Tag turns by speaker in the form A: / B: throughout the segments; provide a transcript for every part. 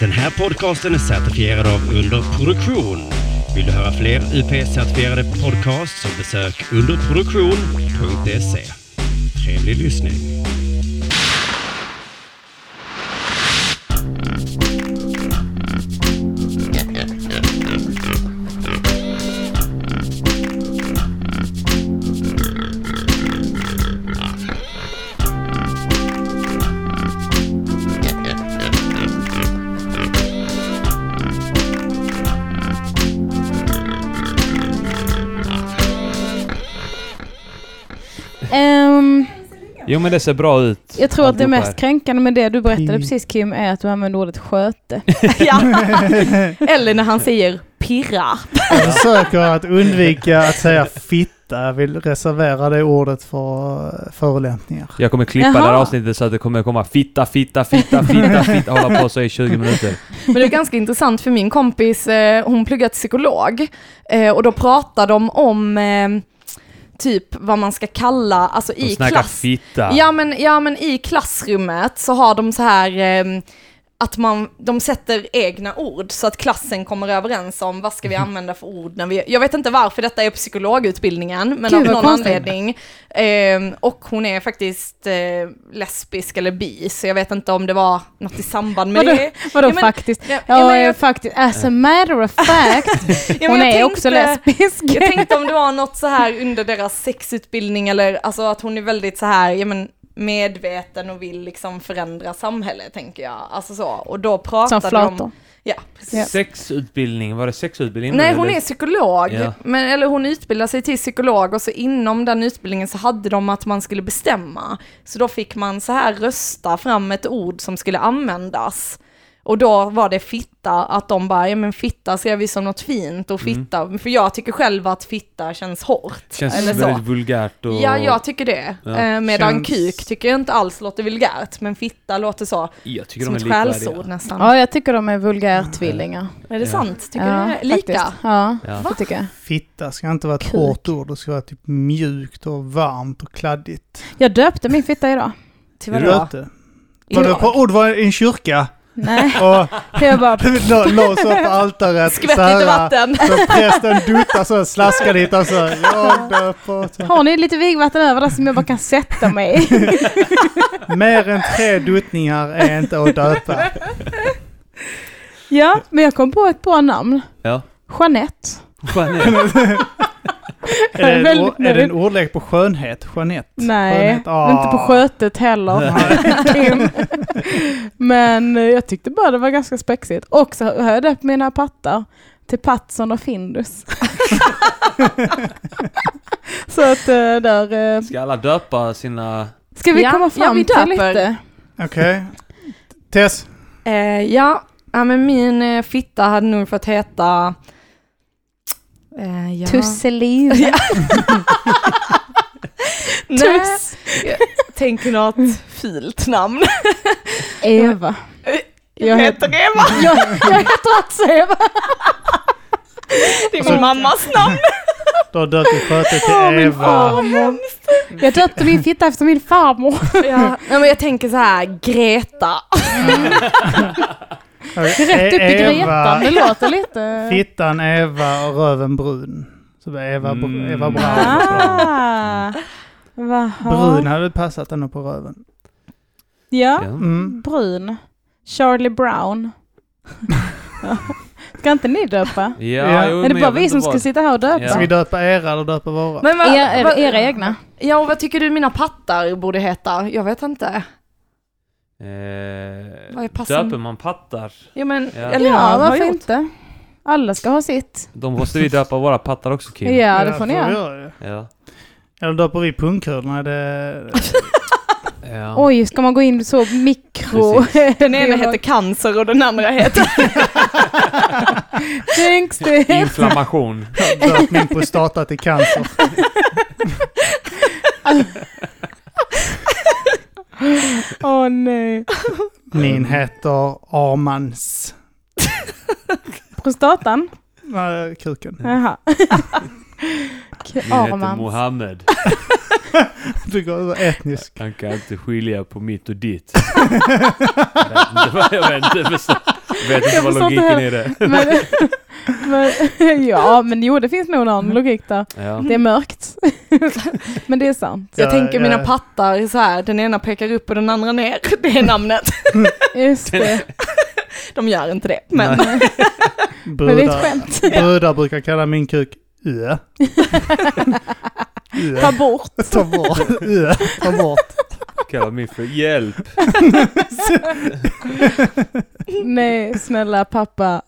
A: Den här podcasten är certifierad av Underproduktion. Vill du höra fler UP-certifierade podcasts så besök underproduktion.se. Trevlig lyssning.
B: Ehm,
C: Jo men det ser bra ut.
B: jag tror att det
C: Alltihop
B: mest
C: här.
B: kränkande med det du berättade
D: Pi.
B: precis Kim är att du använde ordet sköte. ja. Eller när han säger pirra.
D: Jag försöker att undvika att säga fitta. Jag vill reservera det ordet för eh, förolämpningar.
C: Jag kommer klippa
B: Jaha.
C: det här avsnittet så att det kommer komma fitta, fitta, fitta, fitta, fitta, hålla på så i 20 minuter.
E: Men det är ganska intressant för min kompis, eh, hon pluggar till psykolog eh, och då pratar de om eh, typ vad man ska kalla, alltså
C: De
E: i
C: snackar
E: klass.
C: fitta.
E: Ja men, ja men i klassrummet så har de så här ehm, att man, de sätter egna ord så att klassen kommer överens om vad
C: Mhm.
E: ska vi använda för ord när vi, jag vet inte varför detta är på psykologutbildningen men
B: Gud,
E: av
B: vad
E: någon
B: konstigt.
E: anledning. Ehm, och hon är faktiskt eh, lesbisk eller bi så jag vet inte om det var något i samband med
B: Vadå?
E: det.
B: Vadå
E: Ja, men-
B: faktiskt?
E: Ja,
B: Ja,
E: ja, men jag-
B: faktiskt. As a matter of fact.
E: ja, men
B: hon är
E: jag
B: också
E: tänkte-
B: lesbisk.
E: Jag tänkte om det var något så här under deras sexutbildning eller alltså att hon är väldigt så här, ja men medveten och vill liksom förändra samhället tänker jag. Alltså så, och då
B: Som
E: pratade de
B: flator.
E: om... Ja, precis.
B: Ja.
C: Sexutbildning, var det sexutbildning?
E: Nej,
C: Eller-
E: hon är psykolog,
C: Ja.
E: men, eller hon utbildar sig till psykolog och så inom den utbildningen så hade de att man skulle bestämma. Så då fick man så här rösta fram ett ord som skulle användas. Och då var det fitta, att de bara, ja men fitta ser vi som något fint
C: Mm.
E: och fitta, för jag tycker själv att fitta känns hårt.
C: Känns
E: eller så.
C: väldigt vulgärt och...
E: Ja, jag tycker det.
C: Ja.
E: Eh, Medan
D: Känns-
E: kuk tycker jag inte alls låter vulgärt, men fitta låter så,
C: jag tycker
E: som
C: de
E: ett
C: är likvärdiga.
E: skällsord nästan.
B: Ja, jag tycker de är vulgärtvillingar.
E: Är det
C: Ja.
E: sant? Tycker
B: ja,
E: du det? Lika?
B: Faktiskt. Ja,
C: Ja.
B: det tycker jag.
D: Fitta ska inte vara ett
B: Kuk.
D: hårt ord. Det ska vara typ mjukt och varmt och kladdigt.
B: Jag döpte min fitta idag.
E: Till
C: Är
E: vadå?
C: du
D: Vet du? Var det på ord var det i en kyrka?
B: Nej,
D: Och
B: jag bara...
D: lå- lås upp altaret.
E: Skvätt
D: så här, eh,
E: lite vatten!
D: Så prästen duttar så, slaskar dit och så. Jag döper. Så.
B: Har ni lite vigvatten över där som jag bara kan sätta mig i?
D: Mer än tre duttningar är inte att döpa.
B: Ja, men jag kom på ett bra namn.
C: Ja.
B: Jeanette.
C: Jeanette.
D: Är det, en,
B: Väldigt
D: or- är det en
B: nöjd.
D: ordlek på skönhet? Jeanette?
B: Nej,
D: Skönhet, ah.
B: inte på skötet heller. Kim. men eh, jag tyckte bara det var ganska spexigt. Och så har jag döpt mina pattar till Patsson och Findus. så att eh, där... eh,
C: Ska alla döpa sina...
B: Ska vi
E: Ja,
B: komma
E: ja,
B: fram
E: vi
B: till
E: döper.
B: lite?
D: Okej. Tess,
E: Eh, ja, ja, men min eh, fitta hade nog fått heta... Eh, ja.
B: Tusselin.
E: Nej, tänk något fult namn.
B: Eva.
E: Jag heter Eva.
B: jag, jag heter alltså Eva.
E: Det är min mammas namn.
D: du har döpt i skötet till Eva.
B: Jag döpte min fitta efter min farmor.
E: ja. ja, men jag tänker så här, Greta.
B: Rätt upp i Greta. Det låter lite...
D: Fittan Eva och röven brun. Så det är Eva,
C: Mm.
D: br- Eva Braun.
B: Ah, Vaha.
D: Brun hade passat ändå på röven.
B: Ja,
C: Ja.
D: Mm.
B: brun. Charlie Brown. Ska inte ni döpa?
C: Ja,
D: Ja.
C: Jo,
B: är det bara
C: men jag vet
B: vi som
C: inte
B: ska
C: vad-
B: sitta här och döpa?
D: Ska vi döpa era eller döpa våra?
E: Men vad-
B: Er,
E: vad-
B: er, era egna?
E: Ja, och vad tycker du mina pattar borde heta? Jag vet inte. Vad är
C: Eh,
E: passen?
C: döper man pattar?
E: Ja, men,
C: Ja.
E: Eller jag
B: Ja,
E: har
B: varför
E: gjort.
B: inte? Alla ska ha sitt.
C: Då måste vi döpa våra pattar också Kim.
B: Ja, det får ni göra.
D: göra ju.
C: Ja.
D: Eller döper vi pungkulorna? Det...
C: Ja.
B: Oj, ska man gå in så mikro?
E: Den ena heter cancer och den andra heter...
B: Thanks, det.
C: Eh, Inflammation.
D: Döpt min prostata till cancer.
B: Åh nej.
D: Min heter Armans.
B: Prostatan? Mm.
D: Nej, kuken.
B: Jaha.
C: Min heter
B: Armans.
C: Mohammed.
D: Du går så etnisk.
C: Han kan inte skilja på mitt och ditt. jag vet inte vad, jag vet inte, förstå, vet inte
B: Jag
C: vad
B: förstår inte
C: logiken
B: hur-
C: i det.
B: Men, men, ja, men jo, det finns nog någon logik där.
C: Ja.
B: Det är mörkt. Men det är sant.
E: eh, Jag
D: Ja,
E: tänker
D: ja.
E: mina pattar är så här, den ena pekar upp och den andra ner. Det är namnet.
B: Just det.
E: De gör inte det, men
B: Men det är ett
D: Brudar,
B: skämt.
D: brudar brukar kalla min kuk ö. Ö.
B: Ta bort.
D: Ta bort. Ö. Ta bort.
C: Kallar mig för hjälp.
B: Nej, snälla pappa.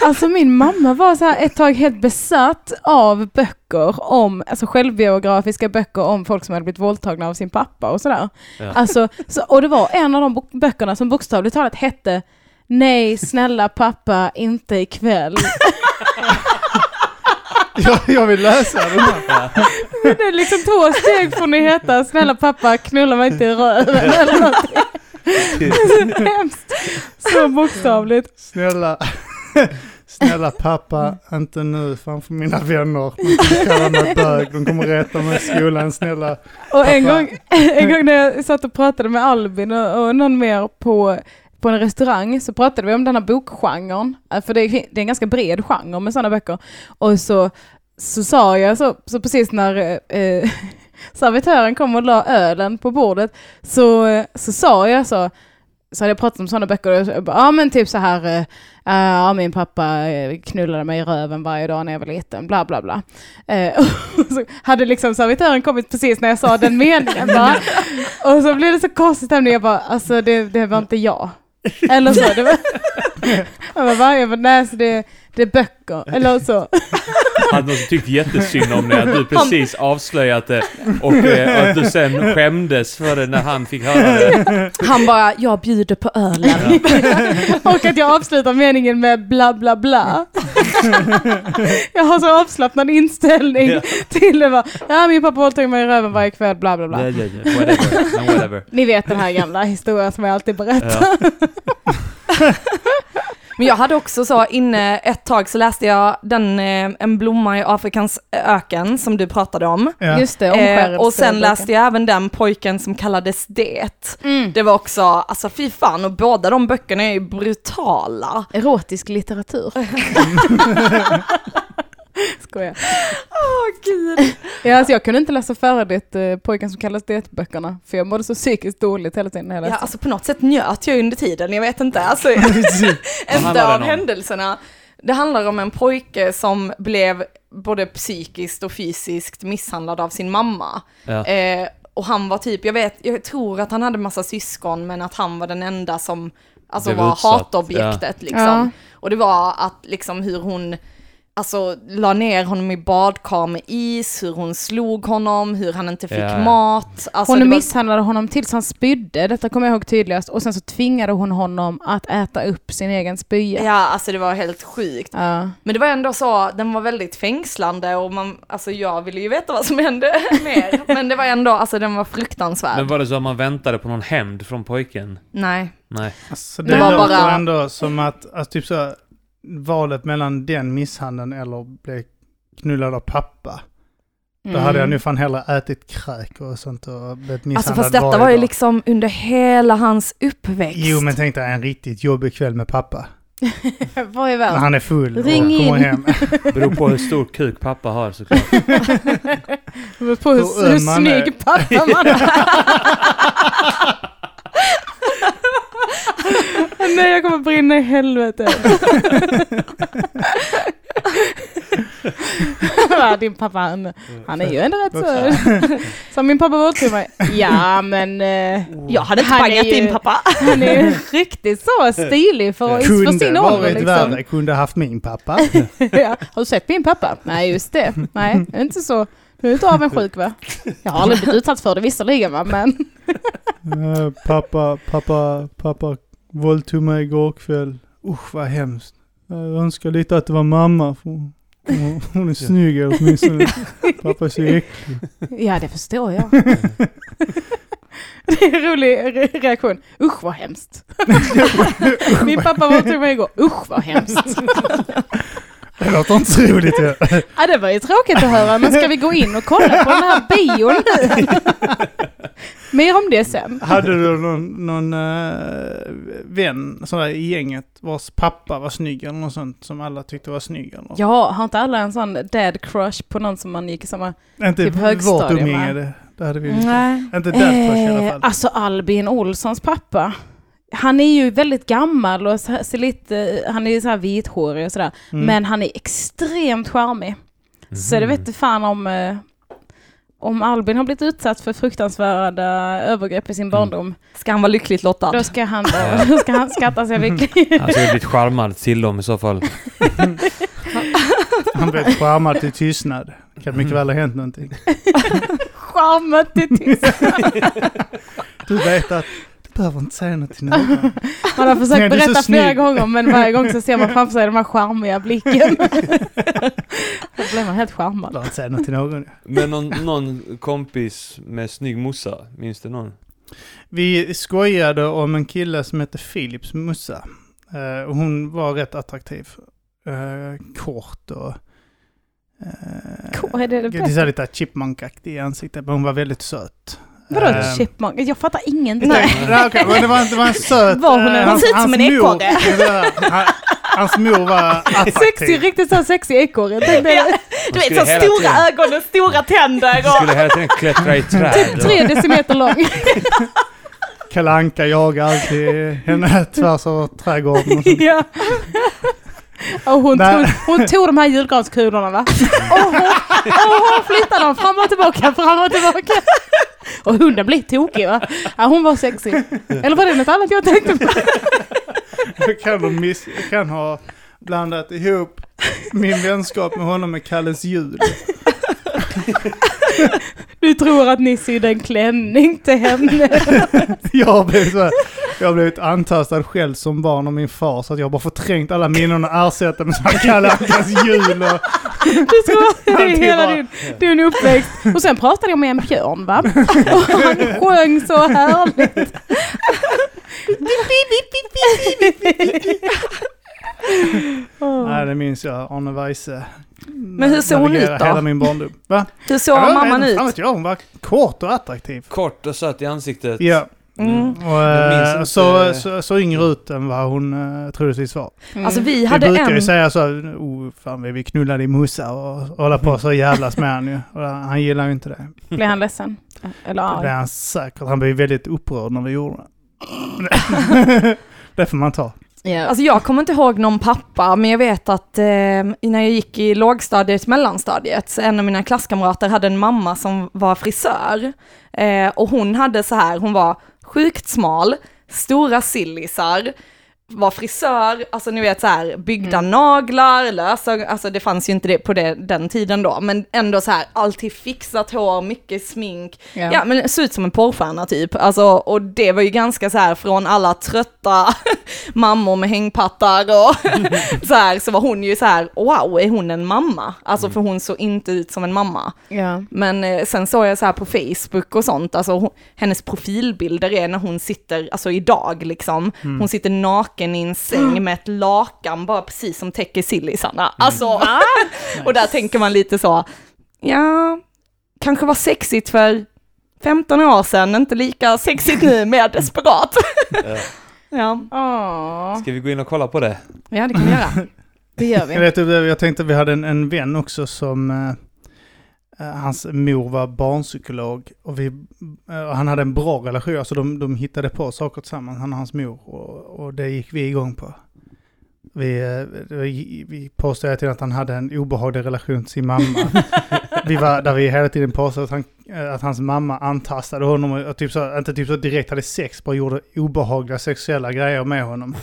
B: alltså min mamma var så här ett tag helt besatt av böcker om, alltså självbiografiska böcker om folk som hade blivit våldtagna av sin pappa och sådär.
C: Ja.
B: Alltså, så, och det var en av de bok- böckerna som bokstavligt talat hette Nej, snälla pappa, inte ikväll.
D: Jag, jag vill läsa den här.
B: Det är liksom två steg från att heta snälla pappa, knulla mig inte i röven eller någonting. Så hemskt. Så bokstavligt.
D: Snälla. Snälla pappa, inte nu framför mina vänner. De kommer kalla mig bög, de kommer reta mig i skolan. Snälla,
B: Och en
D: Pappa.
B: gång, en gång när jag satt och pratade med Albin och, och någon mer på, på en restaurang så pratade vi om den här bokgenren. Eh, För det är, det är en ganska bred genre med sådana böcker. Och så, så sa jag så, så precis när eh, eh, servitören kom och la ölen på bordet så, eh, så sa jag så så hade jag pratat om sådana böcker och jag bara, ja men typ så här, eh, eh, ja min pappa eh, knullade mig i röven varje dag när jag var liten, bla bla bla. Eh, och så hade liksom servitören kommit precis när jag sa den meningen bara. Och så blev det så konstig stämning, jag bara, alltså det, det var inte jag. Eller så. Det var, jag bara, va? jag bara nej så det, det är böcker, eller så.
C: Hade någon som tyckte jättesynd om dig att du precis avslöjat det och eh, att du sen skämdes för det när han fick höra det.
E: han bara, jag bjuder på ölen.
B: Och att jag avslutar meningen med bla bla bla. Jag har så avslappnad inställning
C: Ja.
B: till det bara, ja min pappa våldtog mig i röven varje kväll, bla bla bla.
C: Nej, nej, nej, Whatever. No, whatever.
B: Ni vet den här gamla historien som jag alltid berättar.
C: Ja.
E: Men jag hade också så inne ett tag så läste jag den, eh, En blomma i Afrikans öken som du pratade om.
D: ja.
B: Just det,
E: Eh,
B: omskärelse.
E: och sen läste jag även den pojken som kallades Det.
B: Mm.
E: Det var också, alltså fy fan, och båda de böckerna är ju brutala.
B: Erotisk litteratur. Skojar.
E: Åh gud.
B: Ja, alltså jag kunde inte läsa färdigt eh, Pojken som kallas det-böckerna, för jag mådde så psykiskt dåligt hela tiden när jag
E: Ja,
B: läste.
E: alltså på något sätt njöt jag under tiden, jag vet inte. Alltså, en
C: handlar
E: dag av
C: den om?
E: händelserna. Det handlar om en pojke som blev både psykiskt och fysiskt misshandlad av sin mamma.
C: Ja.
E: Eh, och han var typ, jag vet, jag tror att han hade massa syskon men att han var den enda som alltså,
C: Blev
E: var
C: utsatt,
E: hatobjektet liksom.
B: Ja.
E: Och det var att liksom hur hon alltså la ner honom i badkar med is, hur hon slog honom, hur han inte fick
C: Ja.
E: mat. Alltså, det
B: Hon
E: var-
B: misshandlade honom tills han spydde, detta kommer jag ihåg tydligast, och sen så tvingade hon honom att äta upp sin egen spya.
E: Ja, alltså det var helt sjukt.
B: Ja. Mm.
E: Men det var ändå så, den var väldigt fängslande och man, alltså jag ville ju veta vad som hände mer. Men det var ändå, alltså den var fruktansvärd.
C: Men var det så att man väntade på någon hämnd från pojken?
E: Nej.
C: Nej.
D: Alltså,
E: Det
D: det
E: var
D: låter
E: bara-
D: ändå som att, alltså, typ så, här, valet mellan den misshandeln eller bli knullad av pappa. Då hade jag nu fan hellre ätit kräk och sånt och blivit misshandlad
E: Alltså fast detta
D: varje
E: var ju
D: dag.
E: liksom under hela hans uppväxt.
D: Jo men tänk dig en riktigt jobbig kväll med pappa.
B: Vad är
D: När
B: värst?
D: han är full och
B: Ring
D: kommer
B: in.
D: hem.
C: Beror på hur stor kuk pappa har såklart.
B: Det beror på hur,
D: Hur
B: hur
D: öm man är.
B: snygg pappa man är. Nej, jag kommer brinna i helvete. Ja, Din pappa, han, han är ju ändå rätt så... Som min pappa våldtog mig. Ja, men... eh,
E: Jag hade inte
B: Han är
E: bangat
B: ju-
E: din pappa.
B: Han är ju riktigt så stilig för, för sin
D: Kunde
B: ålder.
D: varit
B: Liksom.
D: värre, kunde haft min pappa.
B: Ja. Har du sett min pappa? Nej, just det. Nej, jag är inte så... Du är inte avundsjuk va? Jag har aldrig blivit utsatt för det visserligen va, men...
D: Eh, pappa, pappa, pappa våldtog mig igår kväll. Usch vad hemskt. Jag önskar lite att det var mamma. För hon, hon- hon är snygg åtminstone. Pappa är så äcklig.
B: Ja, det förstår jag. rolig re- reaktion. Usch vad hemskt. Min pappa våldtog mig igår. Usch vad hemskt.
D: Det låter inte så roligt ju.
B: Ja, det var ju tråkigt att höra, men ska vi gå in och kolla på den här bion nu? Mer om det sen.
D: Hade du någon, någon eh, vän sådär, i gänget vars pappa var snygg eller något sånt som alla tyckte var snygg? Eller? något?
B: Ja, har inte alla en sån dad crush på någon som man gick i samma...
D: inte
B: typ
D: vårt
B: högstadium,
D: umgänge,
B: va?
D: det, det hade vi ju inte.
E: Nej.
D: Inte den först i alla
B: Eh,
D: fall.
B: alltså Albin Olssons pappa. Han är ju väldigt gammal och så- ser lite, eh, han är ju så här vithårig och sådär.
D: Mm. Mhm.
B: Men han är extremt charmig. Så det vet inte fan om, eh, om Albin har blivit utsatt för fruktansvärda övergrepp i
D: Mm.
B: sin barndom.
E: Ska han vara lyckligt lottad?
B: Då ska han, då ska han skatta sig lycklig.
C: Han skulle blivit charmad till dem i så fall.
D: Han blev charmad till tystnad. Kan mycket väl ha hänt någonting.
B: Charmen till tyst.
D: Du vet att du behöver inte säga något till någon.
B: Man har försökt
D: Nej, du är så
B: berätta
D: snygg.
B: flera gånger men varje gång så ser man framför sig den här charmiga blicken. Då blir man helt
D: Du
B: charmad.
D: behöver inte säga något till någon.
C: Men någon, någon kompis med snygg morsa, minns du någon?
D: Vi skojade om en kille som hette Philips mussa. Eh, och hon var rätt attraktiv. Eh, kort och... eh,
B: Cool, är det det
D: det är
B: bästa?
D: så här lite chipmunkaktig i ansiktet, men hon var väldigt söt.
B: Vadå
D: Eh,
B: chipmunk? Jag fattar ingenting.
D: Nej, okej, men det var, det var en söt...
B: Var hon
D: eh,
B: en-
D: hans-
E: Hon ser ut som
D: hans
E: en
D: mor-
E: ekorre.
D: Ja, Hans mor var
B: Sexig,
D: attraktiv.
B: riktigt så här sexig ekorre. Jag tänkte,
E: Du
C: skulle
E: vet, så
C: hela
E: stora
C: tiden-
E: ögon och stora tänder.
C: Han
E: Och...
C: skulle hela tiden klättra i träd. och-
B: typ Tre decimeter lång.
D: Kalle Anka jagade alltid henne tvärs över trädgården. Och så.
B: Ja. Och hon,
D: Nej.
B: tog, hon tog de här julgranskulorna va? Och hon, och hon flyttade dem fram och tillbaka, fram och tillbaka. Och hunden blev tokig va? Ja, hon var sexig. Eller var det något annat jag tänkte på?
D: Jag kan, ha miss, jag kan ha blandat ihop min vänskap med honom med Kalles jul.
B: Du tror att ni sydde en klänning till henne.
D: Jag blev så här, jag har blivit antastad själv som barn av min far så att jag har bara förträngt alla minnen och ersatt dem med så här Kalle Ankas jul och
B: Du tror det är
D: Allting
B: hela
D: var-
B: din, din uppväxt. Och sen pratade jag med en björn va? Och han sjöng så härligt.
D: Nej, det minns jag. Arne Weise.
E: Men hur ser hon
D: Navigerar
E: ut då?
D: Hela min barndom. Va?
E: Hur såg
D: Ja,
E: mamman
D: jag vet-
E: ut?
D: Fan vet jag, hon var kort och attraktiv.
C: Kort och söt i ansiktet.
D: Ja,
E: Mm.
D: och
C: Jag minns
D: eh,
C: inte-
D: så, så, så yngre ut än vad hon uh, troligtvis var.
E: Alltså vi
D: Vi
E: hade
D: brukar
E: en...
D: ju säga så, här, oh, fan vi knullade i mossa och, och hålla på så och jävlas med han ju. Och han gillar ju inte det.
B: Blev han ledsen? Eller
D: Det blev
B: arg?
D: han säkert. Han blev väldigt upprörd när vi gjorde det. det får man ta.
B: Ja.
E: Alltså jag kommer inte ihåg någon pappa, men jag vet att eh, när jag gick i lågstadiet, mellanstadiet, så en av mina klasskamrater hade en mamma som var frisör. Eh, och hon hade så här, hon var sjukt smal, stora sillisar, var frisör, alltså ni vet så här, byggda naglar, lösa, alltså det fanns ju inte det på det, den tiden då, men ändå så här, alltid fixat hår, mycket smink,
B: Ja.
E: Ja, men såg ut som en porrstjärna typ. Alltså, och det var ju ganska så här från alla trötta mammor med hängpattar och så här, så var hon ju så här, wow, är hon en mamma? Alltså för hon såg inte ut som en mamma.
B: Ja.
E: Men eh, sen såg jag så här på Facebook och sånt, alltså hon, hennes profilbilder är när hon sitter, alltså idag liksom, hon sitter naken i en säng med ett lakan bara precis som täcker sillisarna. Alltså, och där tänker man lite så, ja, kanske var sexigt för 15 år sedan, inte lika sexigt nu, mer desperat.
C: Ja.
E: ja.
B: Åh,
C: Ska vi gå in och kolla på det?
E: ja, det kan vi göra.
B: det gör
D: Jag,
B: vi.
D: vet, inte, jag tänkte vi hade en, en vän också som eh, eh, Hans mor var barnpsykolog och vi, eh, och han hade en bra relation, alltså de, de hittade på saker tillsammans, han och hans mor, och, och det gick vi igång på. Vi, eh, vi, vi påstod hela tiden att han hade en obehaglig relation till sin mamma. vi var, där vi hela tiden påstod att, han, eh, att hans mamma antastade honom och, och typ så, inte typ så direkt hade sex, bara gjorde obehagliga sexuella grejer med honom.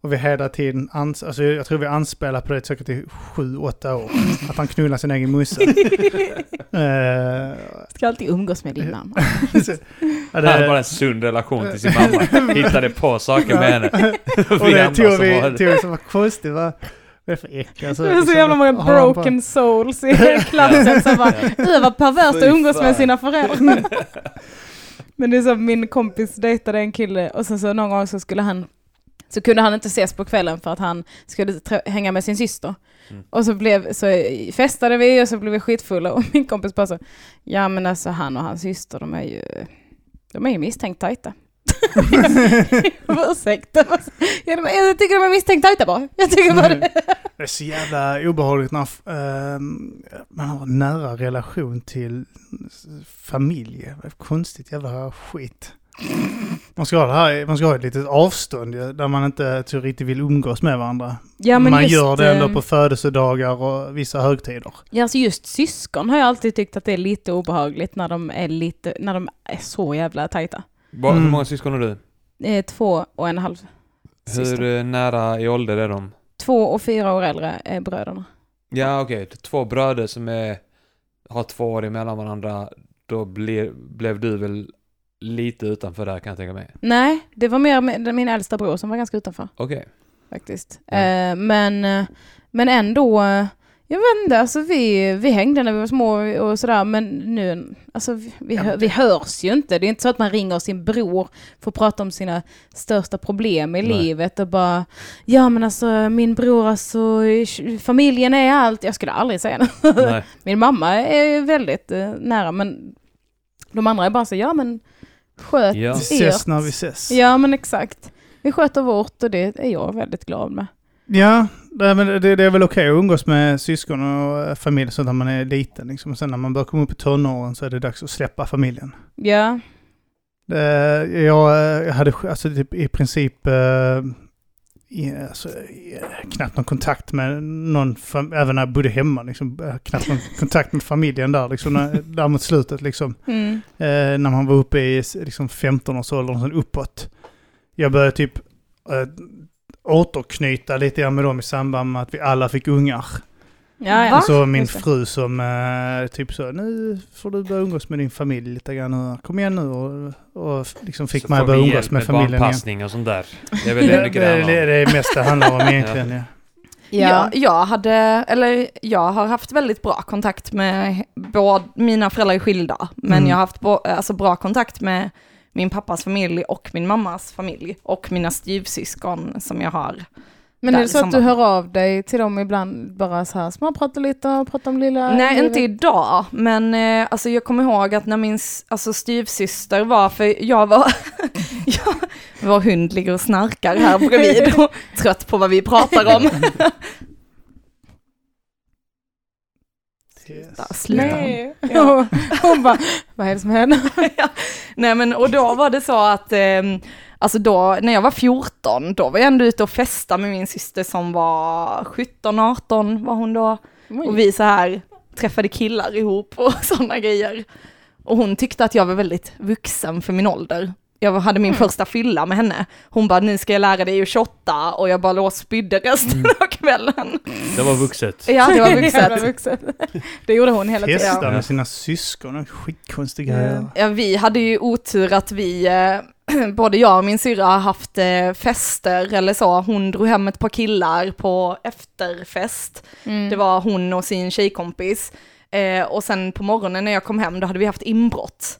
D: Och vi hela tiden, ans- alltså jag tror vi anspelar på det säkert i sju, åtta år. Att han knullar sin egen musse. Eh,
B: Ska alltid umgås med din mamma.
D: ja,
C: Han hade bara
D: det,
C: en sund relation till sin mamma. Hittade på saker med henne.
D: och det tog vi,
C: var det.
D: tog vi som var konstigt. Vad vad är det för alltså. Liksom, äckel?
B: Det är så jävla många broken souls i klassen som bara, "Ö, vad perverst att
C: Fy
B: umgås
C: fan."
B: med sina föräldrar. Men det är som min kompis dejtade en kille och sen så någon gång så skulle han så kunde han inte ses på kvällen för att han skulle trä- hänga med sin syster.
C: Mm.
B: Och så, blev, så festade vi och så blev vi skitfulla och min kompis bara så, ja men alltså han och hans syster de är ju, de är ju misstänkt tajta. jag bara, ursäkta, vad sa- ja, de, jag tycker de är misstänkt tajta bara. Jag tycker bara det.
D: Det är så jävla obehagligt när eh, man har en nära relation till familj. Konstigt jävla skit. Man ska ha, det här, man ska ha ett litet avstånd ju, där man inte så riktigt vill umgås med varandra.
B: Ja, men
D: man
B: just,
D: gör det ändå
B: ehm,
D: på födelsedagar och vissa högtider.
B: Ja, alltså just syskon har jag alltid tyckt att det är lite obehagligt när de är, lite, när de är så jävla tajta.
C: Vad- Hur
D: Mm.
C: många syskon har du?
B: Eh, två och en halv
C: Hur
B: syster.
C: eh, nära i ålder är de?
B: Två och fyra år äldre är bröderna.
C: Ja, okej. Två bröder som är, har två år emellan varandra. Då blir, blev du väl lite utanför där kan jag tänka mig.
B: Nej, det var mer min- min äldsta bror som var ganska utanför
C: Okej.
B: faktiskt.
C: Ja.
B: Eh, men, eh, men ändå, eh, jag vet inte, alltså vi, vi hängde när vi var små och sådär, men nu, alltså vi, vi,
D: Ja,
B: hör, vi hörs ju inte. Det är inte så att man ringer sin bror för att prata om sina största problem i
C: Nej.
B: livet och bara, ja men alltså min bror, alltså familjen är allt. Jag skulle aldrig säga det.
C: Nej.
B: Min mamma är väldigt eh, nära, men de andra är bara så, ja men sköt
C: Ja.
D: Vi
B: ert.
D: ses när vi ses.
B: Ja men exakt. Vi sköter vårt och det är jag väldigt glad med.
D: Ja, det, men det, det är väl okej att umgås med syskon och eh, familj så när man är liten. Liksom. Och Sen när man börjar komma upp i tonåren så är det dags att släppa familjen.
B: Ja,
D: Det, jag, eh, jag hade sj- alltså, typ, i princip eh, i, alltså, i, eh, knappt någon kontakt med någon, fam- även när jag bodde hemma, liksom, eh, knappt någon kontakt med familjen där, liksom, när, där mot slutet. Liksom.
B: mm.
D: Eh, när man var uppe i s- liksom 15-årsåldern och sen uppåt. Jag började typ eh, återknyta lite grann med dem i samband med att vi alla fick ungar.
B: ja,
E: Va?
B: ja.
D: Och så min
B: Just det.
D: fru som eh, typ så, nu får du börja umgås med din familj lite grann nu. Kom igen nu och, och liksom fick
C: Så
D: mig
C: får
D: att börja
C: vi
D: umgås
C: hjälp
D: med familjen igen.
C: barnpassning och sånt där. Det är väl det
D: Det,
C: mycket det
D: det, det
C: handlar om.
D: är det mest det handlar om egentligen. ja.
E: Ja. Jag, jag hade, eller jag har haft väldigt bra kontakt med både, mina föräldrar är skilda, men
D: Mm.
E: jag har haft bo, alltså bra kontakt med min pappas familj och min mammas familj och mina styvsyskon som jag har.
B: Men är
E: Där
B: det
E: i
B: så att du
E: samband.
B: hör av dig till dem ibland bara så här småprata lite och prata om lilla
E: Nej,
B: livet?
E: inte idag, men eh, alltså, jag kommer ihåg att när min s- alltså, styvsyster var, för jag var, jag, vår hund ligger och snarkar här bredvid och trött på vad vi pratar om.
D: Yes.
E: Där, sluta.
B: Nej.
E: Ja.
B: Hon bara, vad är det som händer?
E: Ja. Nej men och då var det så att, ehm, alltså då, när jag var 14, då var jag ändå ute och festa med min syster som var 17, 18 var hon då. Och vi så här träffade killar ihop och sådana grejer. Och hon tyckte att jag var väldigt vuxen för min ålder. Jag var- hade min första fylla med henne. Hon bara, nu ska jag lära dig att shotta och jag bara låg och spydde resten av kvällen.
C: Det var vuxet.
E: Mm. Ja, det var
B: Jävla
E: vuxet.
B: vuxet. Det gjorde hon hela tiden.
D: Festa
E: Ja.
D: med sina syskon, det är skitkonstiga
B: Ja.
D: grejer.
E: Ja, vi hade ju otur att vi, eh, både jag och min syrra har haft eh, fester eller så. Hon drog hem ett par killar på efterfest.
B: Mm.
E: Det var hon och sin tjejkompis. Eh, och sen på morgonen när jag kom hem, då hade vi haft inbrott.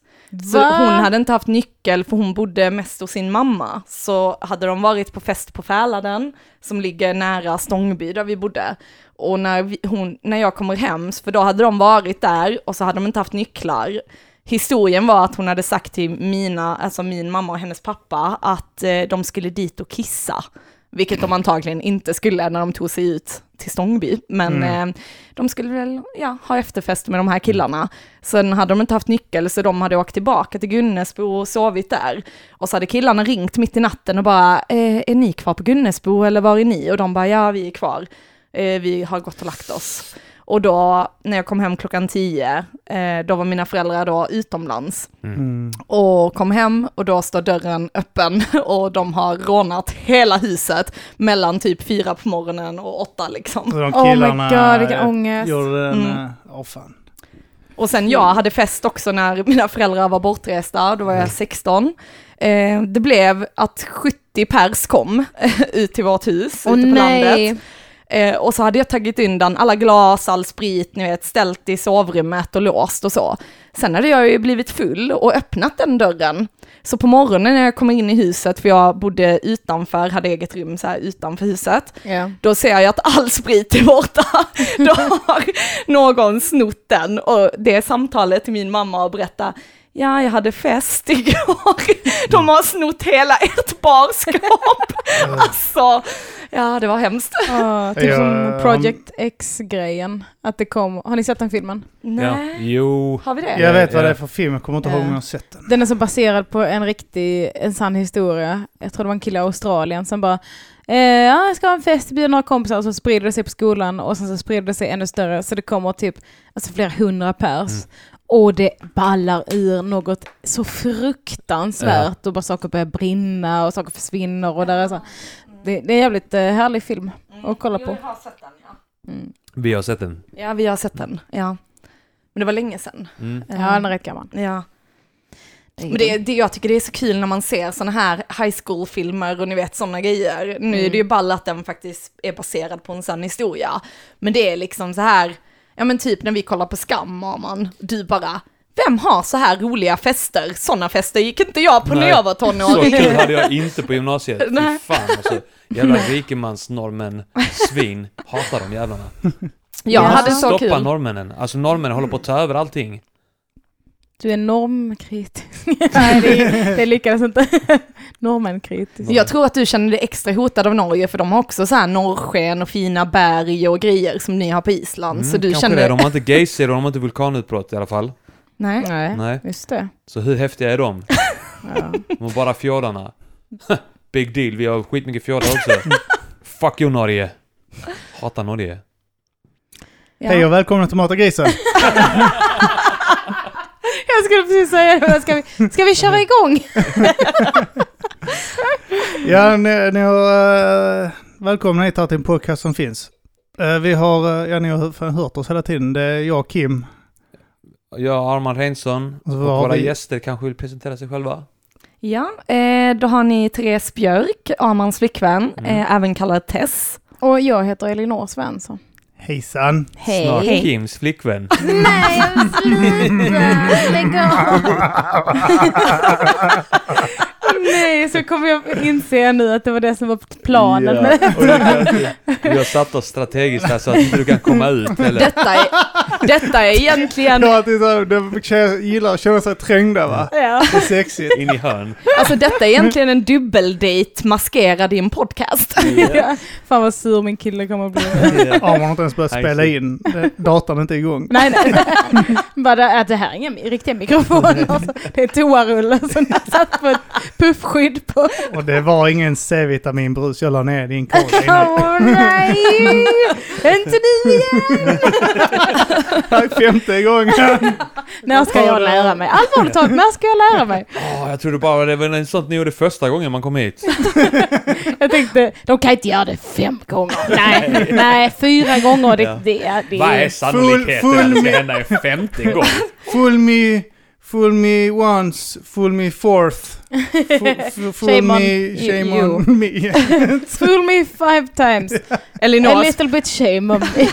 E: Så
B: Va?
E: hon hade inte haft nyckel för hon bodde mest hos sin mamma. Så hade de varit på fest på Fäladen, som ligger nära Stångby där vi bodde. Och när, vi, hon, när jag kommer hem, för då hade de varit där och så hade de inte haft nycklar. Historien var att hon hade sagt till mina, alltså min mamma och hennes pappa att eh, de skulle dit och kissa. Vilket de antagligen inte skulle när de tog sig ut till Stångby. Men eh, de skulle väl ja, ha efterfest med de här killarna. Sen hade de inte haft nyckel så de hade åkt tillbaka till Gunnesbo och sovit där. Och så hade killarna ringt mitt i natten och bara, eh, är ni kvar på Gunnesbo eller var är ni? Och de bara, ja vi är kvar. Eh, vi har gått och lagt oss. Och då, när jag kom hem klockan tio, eh, då var mina föräldrar då utomlands
D: Mm.
E: och kom hem och då står dörren öppen och de har rånat hela huset mellan typ fyra på morgonen och åtta liksom.
D: Så de
B: Oh my
D: killarna
B: god, vilken
D: eh,
B: ångest.
D: gjorde den,
E: Mm.
D: eh, åh fan.
E: Och sen jag hade fest också när mina föräldrar var bortresta, då var jag 16. Eh, det blev att 70 pers kom ut till vårt hus
B: Åh
E: ute på landet.
B: nej.
E: Eh, och så hade jag tagit undan alla glas, all sprit, ni vet, ställt i sovrummet och låst och så. Sen hade jag ju blivit full och öppnat den dörren. Så på morgonen när jag kommer in i huset, för jag bodde utanför, hade eget rum så här utanför huset,
B: Ja.
E: då ser jag att all sprit är borta. Då har någon snott den och det är samtalet till min mamma och berätta Ja, jag hade fest igår. De har snott hela ert barskap. Alltså, ja det var hemskt.
B: Ja, typ som
D: Jag-
B: Project X-grejen. Att det kom. Har ni sett den filmen?
C: Ja.
E: Nej,
C: Jo.
E: har vi det?
D: Jag vet vad
C: Ja.
D: det är för film, jag kommer inte ihåg om
B: Eh, Ja.
D: jag har sett den.
B: Den är så baserad på en riktig, en sann historia. Jag tror det var en kille i Australien som bara eh, ja, jag ska ha en fest, bjuda några kompisar och så sprider det sig på skolan och sen så sprider det sig ännu större så det kommer typ alltså flera hundra pers. Och det ballar ur något så fruktansvärt och bara saker börjar brinna och saker försvinner och där är så. Det, det är en jävligt eh, härlig film att kolla på.
E: har sett den ja.
B: Mm.
C: Vi har sett den.
E: Ja, vi har sett den, ja. Men det var länge sedan.
C: Mm.
B: Ja, den är rätt gammal.
E: Ja. Men det, det, jag tycker det är så kul när man ser sådana här high school-filmer och ni vet sådana grejer. Nu är det ju
C: Mm.
E: ball att den faktiskt är baserad på en sann historia. Men det är liksom så här, ja men typ när vi kollar på Skam, man du bara, vem har så här roliga fester? Sådana fester gick inte jag på när
C: Nej.
E: jag var
C: Så
E: tonåring.
C: kul hade jag inte på gymnasiet. Fy
E: Nej.
C: fan alltså. Jävla rikemansnormen, svin. Hatar de jävlarna.
E: Jag
B: Ja.
C: Vi måste
E: hade så
C: Alltså, stoppa
E: kul.
C: norrmännen. Alltså norrmännen håller på att ta över allting.
B: Du är normkritisk. Nej, det, det lyckades inte. Normenkritisk.
E: Jag tror att du känner dig extra hotad av Norge för de har också så här norrsken och fina berg och grejer som ni har på Island. så du
C: kanske
E: känner...
C: det. De har inte geyser och de har inte vulkanutbrott i alla fall.
E: Nej.
B: Nej,
C: Nej.
B: just det.
C: Så hur häftiga är de?
B: Ja.
C: De har bara fjordarna. Big deal, vi har skitmycket fjordar också. Fuck you Norge. Hatar Norge.
E: Ja.
D: Hej och välkomna till Mat och grisen.
B: Jag skulle precis säga det, men ska vi, ska vi köra igång?
D: Ja, ni, ni har... eh, välkomna hit här till en podcast som finns. Eh, vi har, eh, ja ni har fan hört oss hela tiden. Det är jag, Kim.
C: Jag Armand Reinsson och
D: Och så har
C: våra
D: vi-
C: gäster kanske vill presentera sig själva.
E: Ja, eh, då har ni Therese Björk, Armans flickvän, eh, även kallad Tess.
B: Och jag heter Elinor Svensson.
D: Hejsan.
C: Snart
E: Eh, Hej.
C: Kims flickvän.
B: Nej, men sluta! Lägg av! Nej, så kommer jag inse nu att det var det som var planen. Men
C: Ja, och det är- Vi har satt oss strategiskt här så att inte du kan komma ut eller?
E: Detta är, detta är egentligen,
D: Ja, det är så, de tjejer gillar att känna sig trängda va?
B: Ja.
D: Det är sexigt.
C: In i hörn.
E: alltså detta är egentligen en dubbeldejt maskerad i en podcast.
B: Ja. Fan vad sur min kille kommer att bli.
D: Ja, man har inte ens börjat
C: Nej,
D: spela
C: shit.
D: in. Det- Datorn är inte igång.
B: Nej, nej. Bara det- att det här är inga riktiga mikrofoner. Alltså. Det är toarullar som jag satt på ett puffskydd på.
D: Och det var ingen C-vitaminbrus jag la ner i din korg innan.
B: Åh nej! Inte nu igen!
D: Femte gången!
B: När ska jag lära mig? Allvarligt talat, när ska jag lära mig?
C: Åh, jag trodde bara det var något sånt ni gjorde första gången man kom hit.
B: Jag tänkte, de kan inte göra det fem gånger. Nej, nej fyra gånger. Det,
C: Ja.
B: det, är- det,
C: Vad är
B: är-
C: sannolikheten
D: full
C: att det ska
D: med-
C: hända en femte gång?
D: Fool me, fool me once, fool me fourth. Fu- fu- Fool
B: Shame on
D: me, shame
B: you.
D: on me.
B: Fool me five times. A
E: Elinors,
B: little bit shame on me.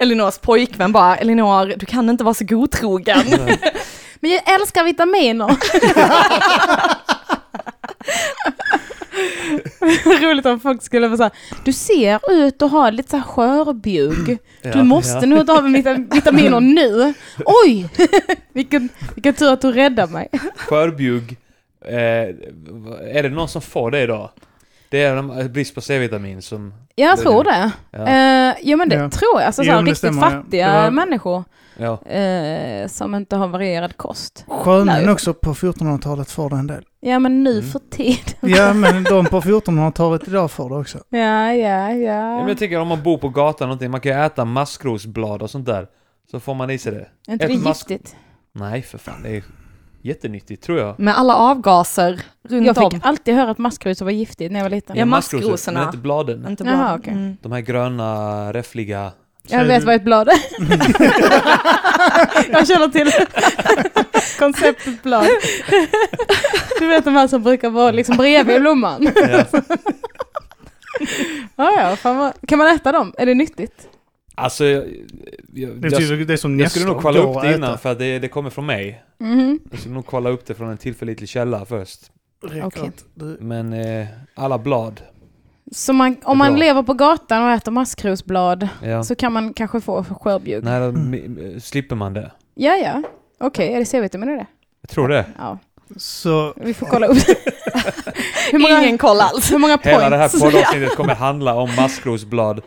E: Elinors pojkvän bara, Elinor, du kan inte vara så godtrogen.
B: Men jag älskar vitaminer. Roligt om folk skulle vara såhär, du ser ut att ha lite såhär skörbjugg. Du måste nog ta med vita- vitaminer nu. Oj! vilken, vilken tur att du räddade mig.
C: Skörbjugg. Eh, är det någon som får det idag? Det är de- eh, brist på C-vitamin som...
B: Jag
C: Det-
B: tror det.
C: Ja.
B: Ja, ja men det
D: Ja.
B: tror jag. Alltså,
D: Jo,
B: såhär,
D: men det
B: riktigt
D: stämmer, ja.
B: fattiga
D: Det var-
B: människor
C: Ja.
B: eh, som inte har varierad kost.
D: Sjömän
B: Nej.
D: också på 1400-talet får det en del.
B: Ja men nu
C: Mm.
B: för tid.
D: Ja, men de på 1400-talet idag får det också.
B: Ja, ja,
C: Ja,
B: ja.
C: Men jag tänker om man bor på gatan eller någonting, man kan ju äta maskrosblad och sånt där. Så får man i sig det.
B: Är inte det
C: ett mask-
B: giftigt?
C: Nej, för fan. Det är jättenyttigt, tror jag.
E: Med alla avgaser runt
B: Jag
E: om.
B: fick alltid höra att maskrosor var giftigt när jag var liten.
E: Ja,
C: maskrosor,
E: maskrosorna.
C: Men inte bladen.
E: Inte
B: Jaha,
E: bra.
B: okej.
E: Mm.
C: De här gröna, räffliga...
B: Jag vet vad ett blad är. jag känner till konceptet blad. Du vet de här som brukar vara liksom bredvid blomman.
C: Ja.
B: Ja, ja, fan vad... Kan man äta dem? Är det nyttigt?
C: Alltså, jag, jag,
D: Det är,
C: jag,
D: typ, det är som
C: jag skulle
D: Nestor,
C: nog kolla
D: går
C: upp
D: att
C: det
D: äta.
C: innan för att det, det kommer från mig.
E: Mm-hmm.
B: Mhm.
C: Jag skulle nog kolla upp det från en tillförlitlig källa först.
D: Räcker
B: Okej.
D: att du-
C: Men eh, alla blad.
B: Så man, om man
C: Bra.
B: lever på gatan och äter maskrosblad
C: Ja.
B: så kan man kanske få skörbjugg?
C: Nej, då, mi- mi- slipper man det.
B: Ja, ja. Okej, är det C-vitamin i det?
C: Jag tror det.
B: Ja,
D: Så
B: vi får kolla upp hur, många,
E: Ingen koll alls.
B: hur många
C: Hela det här
B: points?
C: poddavsnittet kommer handla om maskrosblad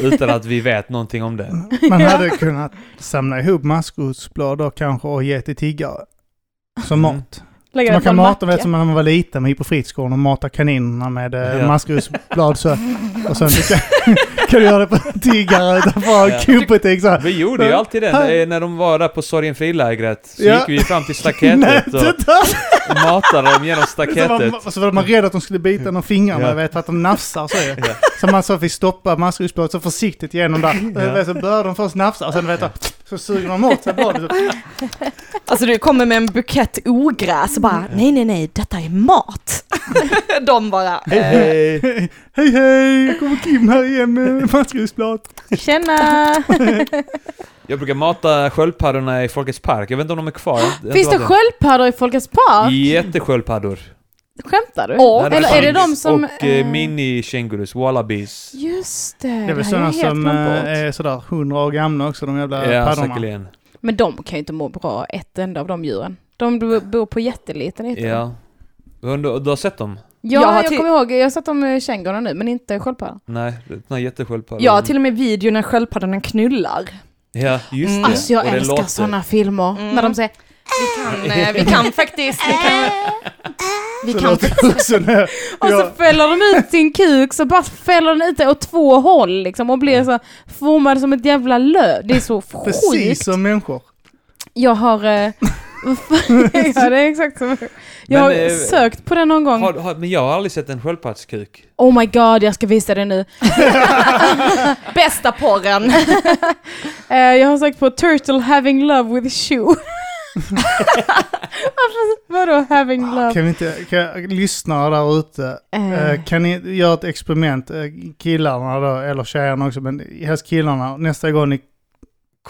C: utan att vi vet någonting om det.
D: man hade kunnat samla ihop maskrosblad och kanske och ge till tiggare. Som
C: Mm.
D: mat.
B: Lägger
D: Så man
B: det på
D: kan
B: en
D: mata, vet
B: macka.
D: som när man var liten, man gick på fritidsgården och matade kaninerna med
C: Ja.
D: ja. maskrosblad så. Och sen så kan, kan du göra det på tiggare utanför
C: Ja.
D: ja. kubutik så här.
C: Vi gjorde ju alltid det när, när de var där på Sorgenfri-lägret. Så
D: Ja.
C: gick vi fram till
D: Nej,
C: staketet och
D: titta!
C: matade dem genom
D: Så var,
C: staketet.
D: man- så var man rädd att de skulle bita en av fingrarna,
C: Ja.
D: vet, för att de nafsar så ju.
C: Ja.
D: Så man så fick stoppa maskrosbladet så försiktigt genom där. Eh,
C: Ja.
D: Vet, Så började de först nafsa och sen vet, du, så suger de åt sig bladet.
E: Alltså du kommer med en bukett ogräs och bara nej, nej, nej, detta är mat. De bara, eh,
D: Hej hej, kommer Kim här igen med maskrosblad.
B: Tjena!
C: Jag brukar mata sköldpaddorna i Folkets Park. Jag vet inte om de är kvar.
B: Finns det sköldpaddor i Folkets Park?
C: Jättesköldpaddor.
B: Skämtar du?
E: Och-
C: Där
E: Eller
B: är det
C: finns.
B: de som,
C: Och eh,
B: eh,
C: mini-kängurus, wallabies.
B: Just det,
D: Det är väl
B: här har
D: sådana
B: jag helt
D: som
B: glömt bort.
D: eh, är sådär hundra år gamla också, de jävla
C: Ja,
D: paddorna.
C: säkerligen.
B: Men de kan ju inte må bra, ett enda av de djuren. De b- bor på jätteliten yta. Ja,
C: Ja. Har Du, du har sett dem?
B: ja
E: Jag har
B: jag,
E: till-
B: kommer ihåg, jag har sett dem i kängurorna nu, men inte sköldpaddan.
C: Nej, den här jättesköldpaddan.
E: jag har till och med video när sköldpaddorna knullar.
C: Ja, just
E: Mm.
C: det.
B: Alltså jag
C: Och det
B: älskar
C: låter.
B: sådana filmer,
E: Mm.
B: när de säger
E: Vi kan, eh, vi kan faktiskt, vi kan, vi
D: Det
E: kan
D: låter också när-
B: och så
D: Ja.
B: fäller de ut sin kuk så bara fäller den ut det åt två håll liksom och blir så formad som ett jävla löv. Det är så
D: Precis
B: sjukt.
D: som människor.
B: Jag har... Eh, vad fan- ja, det är exakt som... Jag har
C: Men, eh,
B: sökt på det någon gång.
C: Har, har, men jag har aldrig sett en sköldpaddskuk.
B: Oh my god, jag ska visa det nu.
E: bästa porren.
B: Eh, jag har sökt på Turtle having love with shoe. Varför- Vadå having love?
D: Kan vi inte, kan jag, lyssnare där ute,
B: Eh,
D: eh, kan ni göra ett experiment, eh, killarna då, eller tjejerna också, men helst killarna, nästa gång ni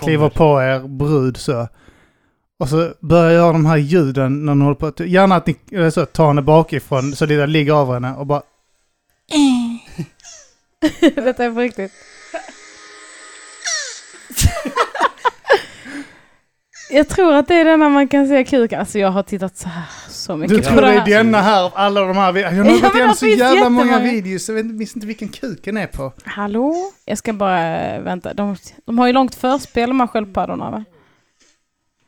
D: kliver på er brud så. Och så börjar göra de här ljuden när ni håller på. att- Gärna att ni eller så, tar henne bakifrån så det där ligger över henne och bara...
B: Detta är på riktigt. jag tror att det är den här man kan se kuken. Alltså jag har tittat så här så mycket
D: Du
B: på
D: tror det
B: det
D: är
B: här.
D: denna här av alla de här. vi- Jag har
B: men alltså,
D: nog gått
B: det
D: igenom så
B: finns
D: jävla många
B: jättemånga.
D: videos. Jag vet inte- visste inte vilken kuk den är på.
B: Hallå? Jag ska bara eh, vänta. De, de har ju långt förspel de här sköldpaddorna va?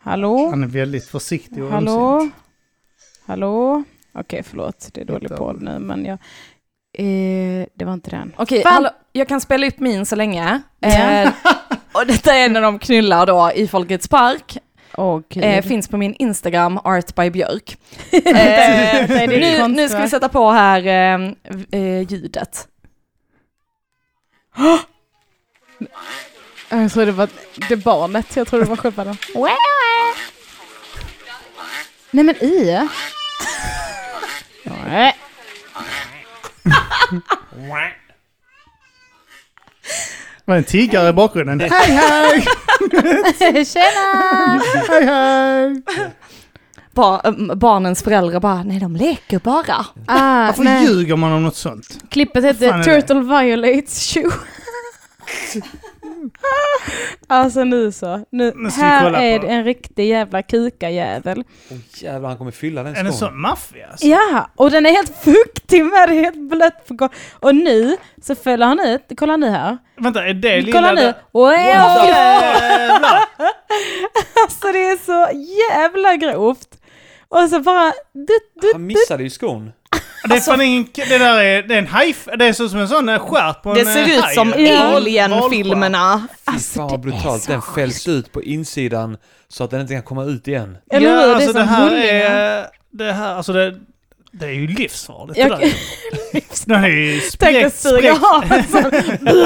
B: Hallå?
D: Han är väldigt försiktig och
B: Hallå?
D: ömsint.
B: Hallå? Okej, förlåt. Det är dålig
D: Titta.
B: podd nu, men jag... Eh, det var inte den.
E: Okej,
B: Fan.
E: hallå, jag kan spela upp min så länge.
B: Ja.
E: Eh, och detta är när de knullar då i Folkets Park.
B: Åh gud.
E: Eh, finns på min Instagram, Art by Björk. Eh,
B: det är ditt
E: nu, nu
B: konstverk.
E: ska vi sätta på här eh, eh, ljudet.
B: jag trodde det var det barnet. Jag trodde det var sköldpaddan. Nej men i. Nej.
D: Var det en tiggare i bakgrunden? hej hej!
B: Alltså, Tjena!
D: Hej hej!
E: Ba- eh, barnens föräldrar bara, nej de leker bara.
B: Ah,
D: Varför
B: nej.
D: ljuger man om något sånt?
B: Klippet
D: fan
B: heter
D: är det?
B: Turtle Violates Shoe. alltså nu så. Nu,
D: Nu ska vi
B: här
D: kolla på
B: är
D: det.
B: det en riktig jävla kukajävel.
C: Åh jävlar, han kommer fylla den
D: Är det en
C: skon.
D: sån maffia? alltså?
B: Ja, och den är helt fuktig med det, helt blött på golvet. Och nu så fäller han ut, kolla nu här.
D: Vänta, är det lilla...
B: Kolla nu!
D: där?
B: Wow.
D: Jävlar!
B: Alltså det är så jävla grovt. Och så bara... Du, du,
C: Han missade ju skon.
B: Alltså-
D: Det är fan ingen... Det där är, det är en haj... Det är så som en sån eh, stjärt på en
E: Det
D: eh,
E: ser ut
D: haj.
E: som
B: Ja.
E: Alien-filmerna.
C: Fy
B: Alltså,
C: fan vad brutalt. Den fälls ut på insidan så att den inte kan komma ut igen.
B: eller hur?
D: Ja, alltså
B: det
D: det
B: är som
D: här
B: hullingar.
D: är... Det här, alltså det... Det är ju livsfarligt
B: Jag-
D: det där. Den är ju
B: Tänk att
D: spräckt,
B: suga
D: spräckt.
B: av en sån.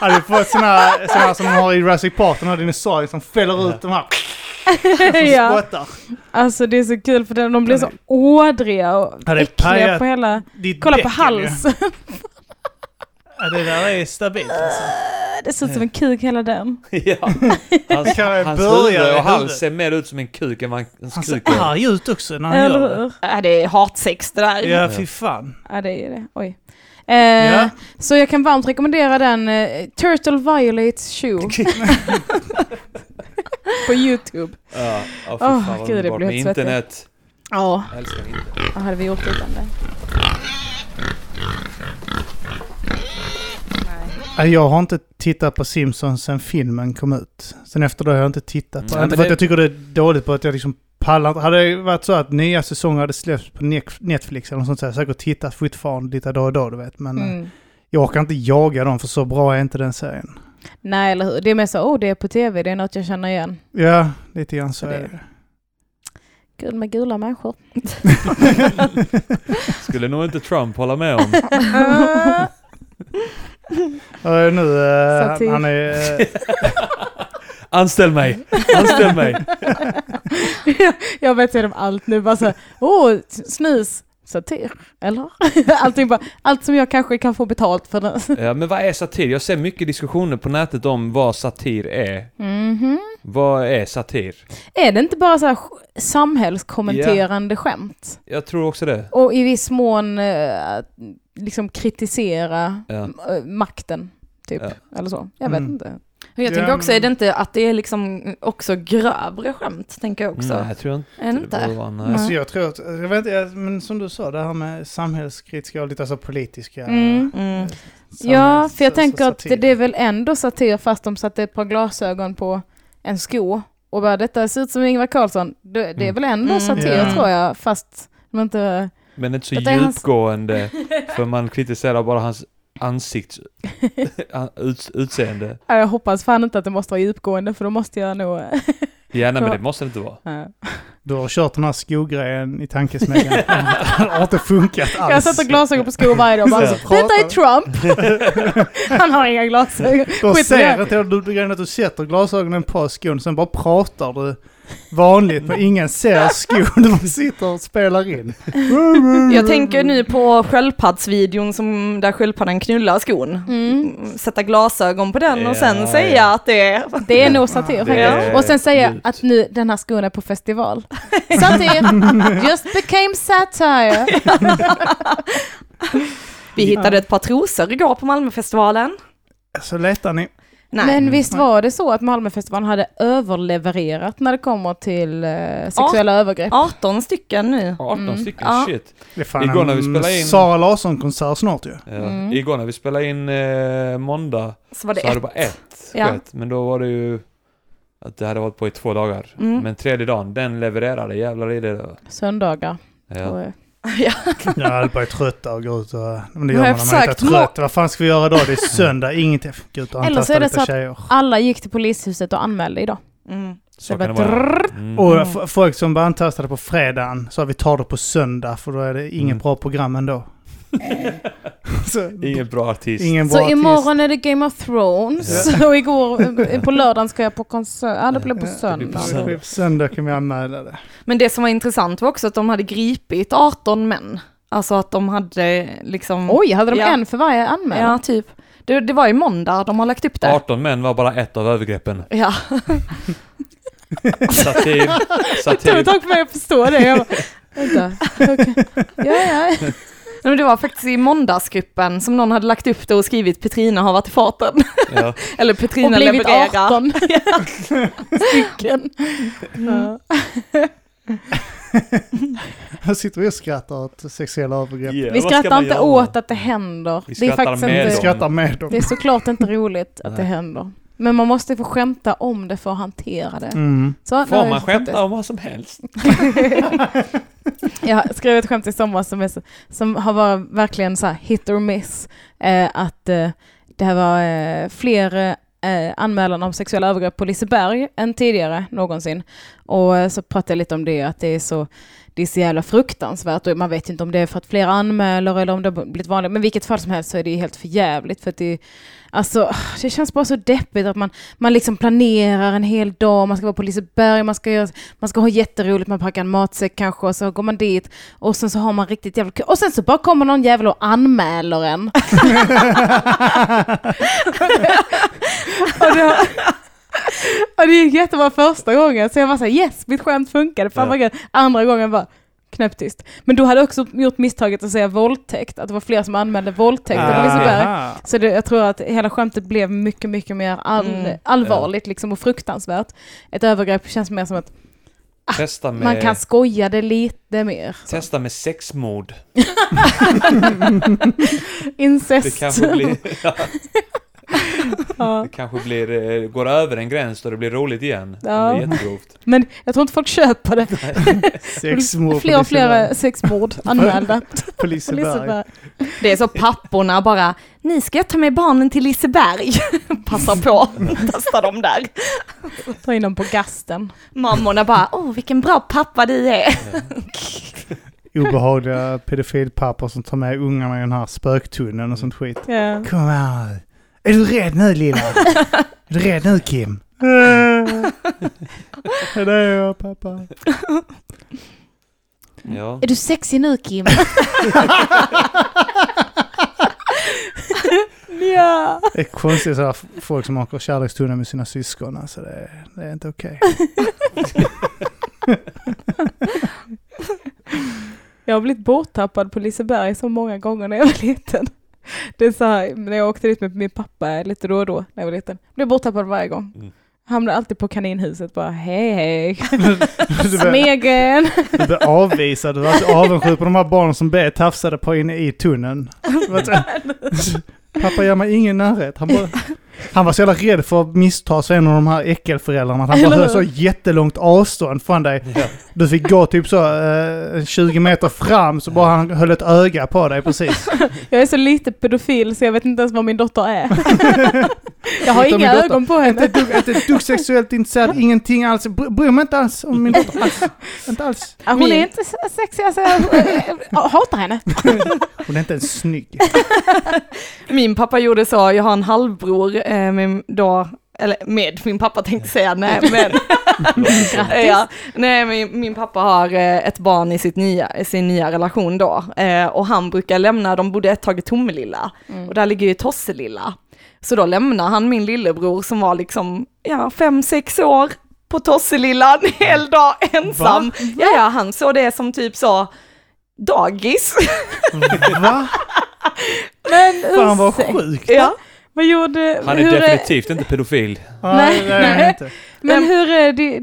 D: Hade du fått såna här, såna här som man har i Jurassic Park, de här dinosaurier som fäller ut de här och
B: ja.
D: spottar.
B: Alltså det är så kul för de de blir så ådriga och
D: Ja, det är
B: äckliga
D: pajat.
B: på hela...
D: Ditt
B: Kolla på
D: däcken ju.
B: halsen.
D: Ja, det där är stabilt alltså.
B: Äh, Det ser ut som en kuk hela den.
C: ja. Hans,
D: Kan jag
C: hans
D: börja
C: huvud
D: i
C: och hals
D: huvudet?
C: ser mer ut som en kuk än vad hans
B: Alltså,
D: Han
C: kuk
D: ser
C: är.
D: arg ut också när han gör
B: Eller
D: det.
B: hur?
E: Äh, det är hatsex det där.
D: Ja, fy fan.
B: Ja, det är det. Oj. Eh,
D: Ja.
B: Så jag kan varmt rekommendera den eh, Turtle Violates Shoe på YouTube.
C: Ja, oh,
B: Åh, gud, det blir helt svettigt.
C: internet.
B: Ja,
C: Jag älskar internet.
B: vad hade vi gjort utan det?
D: Ja, Jag har inte tittat på Simpsons sen filmen kom ut. Sen efter det har jag inte tittat på
C: Nej,
D: Mm. det.
C: men
D: Inte för att
C: det-
D: jag tycker det är dåligt på att jag liksom pallar inte. Hade det varit så att nya säsonger hade släppts på Nec- Netflix eller något sånt så hade jag säkert tittat fortfarande lite då och då du vet. Men eh,
B: Mm.
D: jag orkar inte jaga dem för så bra är inte den serien.
B: Nej, eller hur? Det är mer så, oh, det är på tv, det är något jag känner igen.
D: Ja, lite grann så
B: Så det-
D: är det.
B: Gud med gula människor.
C: Skulle nog inte Trump hålla med om.
B: Ah.
D: Och nu, eh,
B: Satir.
D: han, han är... eh,
C: Anställ mig! Anställ mig!
B: jag vet ju om allt nu, bara så, här, oh, snus, satir, eller? Allting bara, allt som jag kanske kan få betalt för. Det.
C: Ja, men vad är satir? Jag ser mycket diskussioner på nätet om vad satir är.
B: Mhm.
C: Vad är satir?
B: Är det inte bara så här sk- samhällskommenterande skämt?
C: Jag tror också det.
B: Och i viss mån eh, att liksom kritisera
C: Ja.
B: m- eh, makten, typ.
C: Ja.
B: Eller så. Jag vet
D: Mm.
B: inte.
E: Jag
D: Ja,
E: tänker också,
D: men-
E: är det inte att det är liksom också grövre skämt, tänker jag också.
C: Nej, jag tror inte
E: Är det inte?
C: borde vara, nej.
B: Mm.
D: Alltså jag tror att, jag vet inte, jag- men som du sa, det här med samhällskritiska och lite alltså politiska...
B: Mm.
E: Mm.
B: Ja, för jag
D: samhälls-
B: tänker att
D: satir.
B: det, är väl ändå satir fast de satte ett par glasögon på en sko och bara detta ser ut som Ingvar Carlsson. Det, det är
C: Mm.
B: väl ändå
E: Mm.
B: satir
D: Ja.
B: tror jag fast de inte...
C: Men inte så
B: Detta är hans-
C: djupgående, för man kritiserar bara hans ansikts... ut, utseende.
B: Ja, Jag hoppas fan inte att det måste vara djupgående för då måste jag nog...
C: Ja, nej, men det måste det inte vara.
B: Ja.
D: Du har kört den här skogrejen i tankesmedjan. det har inte funkat alls.
B: Jag sätter glasögon på skor varje dag och bara,
D: Ja.
B: detta är Trump! Han har inga glasögon.
D: Du
B: Skit i
D: ser
B: det.
D: att du, du, grejen är att du sätter glasögonen på skon, sen bara pratar du vanligt men ingen ser skon. Du bara sitter och spelar in.
E: Mm. Jag tänker nu på sköldpaddsvideon som där sköldpaddan knullar skon.
B: Mm.
E: Sätta glasögon på den och sen
C: Ja,
E: säga
C: ja.
E: att det är...
B: Det är nog satir
C: Det är
B: faktiskt. Och sen säga
C: djupt.
B: att nu den här skon är på festival. Satir! Just became satire!
E: Vi hittade ett par trosor igår på Malmöfestivalen.
D: Så letar ni.
E: Nej.
B: Men visst var det så att Malmöfestivalen hade överlevererat när det kommer till eh, sexuella övergrepp?
E: 18 stycken nu.
C: 18
B: Mm.
C: stycken,
E: Ja.
C: shit.
D: Det är fan
C: Igår när vi
D: en
C: spelade in-
D: Sara Larsson-konsert snart ju.
C: Ja.
B: Mm.
C: Igår när vi spelade in eh, måndag
E: Så var det
C: så hade
E: ett.
C: det bara ett
E: Ja.
C: skett, men då var det ju att det hade varit på i två dagar.
E: Mm.
C: Men tredje dagen, den levererade, jävlar i det. då.
B: Söndagar. eh,
C: Ja.
B: tror jag.
E: Ja.
D: Jag höll på att trötta och gå ut och... Men det
E: Jag
D: gör
E: har
D: man när man inte är
E: försökt nå-
D: trött. Vad fan ska vi göra då? Det är söndag, ingenting. Gud, och
B: Eller så är det så att-
D: tjejer.
B: Alla gick till polishuset och anmälde idag.
E: Mm.
C: Så
B: det
C: kan det
B: var
C: vara. Mm.
D: Och f- folk som bara antastade på fredagen så vi tar det på söndag för då är det inget
C: Mm.
D: bra program ändå. så,
C: Ingen bra artist.
D: ingen bra
B: Så
D: artist.
B: imorgon är det Game of Thrones och igår eh, på lördagen ska jag på konsert. Ja, det blir på
D: Ja, det
C: blir på
B: söndag.
C: söndag.
D: På Söndag kan vi anmäla det.
E: Men det som var intressant var också att de hade gripit 18 män. Alltså att de hade liksom...
B: Oj, hade de
E: Ja.
B: en för varje anmälan?
E: Ja, typ. Det, det var i måndag de har lagt upp det.
C: 18 män var bara ett av övergreppen.
E: Ja.
C: Satir,
B: Det tog ett
C: satir.
B: tag för mig att förstå det. Jag bara, vänta, okej. ja, ja.
E: Nej, men det var faktiskt i måndagsgruppen som någon hade lagt upp det och skrivit Petrina har varit i farten.
C: Ja.
E: Eller
B: Och
E: Petrina
B: blivit
E: levererar.
B: 18 stycken. Ja.
D: Här sitter vi och skrattar åt sexuella övergrepp.
C: Yeah,
B: Vi
C: vad ska
B: skrattar
C: man
B: inte
C: göra?
B: åt att det händer.
C: Vi
B: Det är
C: skrattar
B: faktiskt
C: med
D: Vi
C: dem.
B: inte,
D: skrattar med dem.
B: det är såklart inte roligt att det
C: Nej.
B: händer. Men man måste få skämta om det för att hantera det.
D: Mm.
B: Så, nu har
C: Får
B: jag
C: man
B: gjort det.
C: skämta om vad som helst?
B: Jag skrev ett skämt i somras som, är, så- som har varit verkligen så här hit or miss. Eh, att eh, det här var eh, fler eh, anmälan om sexuella övergrepp på Liseberg än tidigare någonsin. Och eh, så pratade jag lite om det, att det är så, det är så jävla fruktansvärt och man vet ju inte om det är för att fler anmäler eller om det har blivit vanligt. Men i vilket fall som helst så är det ju helt för jävligt för att det, alltså, det känns bara så deppigt att man, man liksom planerar en hel dag, man ska vara på Liseberg, man ska, göra, man ska ha jätteroligt, man packar en matsäck kanske och så går man dit och sen så har man riktigt jävla kul. Och sen så bara kommer någon jävel och anmäler en. och det, och det gick jättebra första gången, så jag var såhär yes, mitt skämt funkade, fan vad gött. Andra gången bara knäpptyst. Men då hade jag också gjort misstaget att säga våldtäkt, att det var fler som anmälde våldtäkt
D: Ah,
B: på Liseberg.
D: Aha.
B: Så det, jag tror att hela skämtet blev mycket, mycket mer all,
E: Mm.
B: allvarligt liksom, och fruktansvärt. Ett övergrepp känns mer som att
C: Testa med,
B: Ah, man kan skoja det lite mer. Så.
C: testa med sexmord. Det
B: Incest.
C: kanske blir,
B: ja.
C: det kanske blir, eh, går över en gräns då det blir roligt igen.
B: Ja.
C: Det är jättegrovt.
B: Men jag tror inte folk köper det.
D: Sexmord
B: fler
D: på
B: och fler eh,
D: Liseberg.
B: sexmord anmälda
D: På
B: på
D: Liseberg.
B: Liseberg.
E: Det är så papporna bara, ni ska jag ta med barnen till Liseberg. Passa på, testa dem där.
B: Ta in dem på gasten.
E: Mammorna bara, åh vilken bra pappa du är.
D: Obehagliga pedofilpappor som tar med ungarna i den här spöktunneln och sånt skit.
B: Ja.
D: Kom här nu. Är du rädd nu lilla? Är du rädd nu Kim? Ja, det är jag pappa.
C: Ja.
B: Är du sexig nu Kim? ja.
D: Det är konstigt sådär folk som åker kärlekstunnel med sina syskon. Alltså det, är- det är inte okej.
B: Jag har blivit borttappad på Liseberg så många gånger när jag var liten. Det är så här, när jag åkte dit med min pappa lite då och då när jag var liten. Blev borttappad varje gång.
C: Mm.
B: Hamnade alltid på kaninhuset bara hej hej.
D: Du blir-
B: Smegen.
D: Du blir avvisad. Du var så avundsjuk på de här barnen som blev tafsade på inne i tunneln. Det var så- Pappa ger mig ingen närhet. Han, bara, han var så jävla rädd för att missta sig en av de här äckelföräldrarna. Att han bara
B: Eller
D: höll
B: hur?
D: så jättelångt avstånd från dig.
C: Ja.
D: Du fick gå typ så eh, 20 meter fram så bara han höll ett öga på dig precis.
B: Jag är så lite pedofil så jag vet inte ens vad min dotter är. jag har
D: Utom
B: inga
D: min dotter.
B: ögon på
D: Inte
B: henne.
D: ett dugg, inte ett dugg sexuellt intresserad, ingenting alls. Bry- Bryr mig inte alls om min dotter. Alls. Inte alls.
B: Ja, Hon är inte så sexig alltså. Jag jag hatar henne.
D: Hon är inte ens snygg.
E: Min pappa gjorde så, jag har en halvbror, eh, med, då, eller med min pappa tänkte säga, nej men ja, nej, min, min pappa har eh, ett barn i sitt nya, i sin nya relation då. Eh, och han brukar lämna, de bodde ett tag i Tomelilla. Och där ligger ju Tosselilla. Så då lämnar han min lillebror som var liksom, ja, fem, sex år på Tosselilla en hel dag ensam. Ja, ja, han såg det som typ så, dagis.
D: Va?
B: Men
D: Fan vad
B: ursäkta.
D: sjukt.
E: ja.
B: Vad gjorde...
C: Han är
B: hur
C: definitivt inte pedofil.
D: Nej, det är jag inte.
B: Men
E: Vem-
B: hur är, det,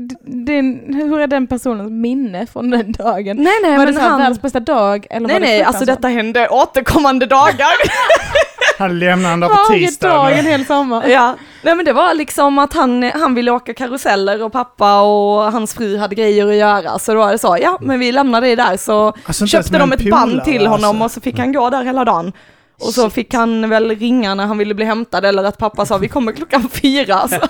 B: din, hur är den personens minne från den dagen?
E: Nej, nej,
B: var
E: men
B: det så här
E: han-
B: världens bästa dag? Eller
E: Nej
B: var det
E: nej, alltså
B: fruktansvärt?
E: detta hände återkommande dagar.
D: Han lämnar den där på
B: Varje dag, en
D: tisdagen.
B: hel sommar.
E: ja. Nej men det var liksom att han, han ville åka karuseller och pappa och hans fru hade grejer att göra. Så då var det så, ja men vi lämnar dig där så
D: Alltså, inte ens
E: köpte
D: med
E: de
D: en
E: ett band
D: polare,
E: till honom
D: alltså.
E: och så fick han gå där hela dagen. Och så fick han väl ringa när han ville bli hämtad eller att pappa sa vi kommer klockan fyra. Alltså.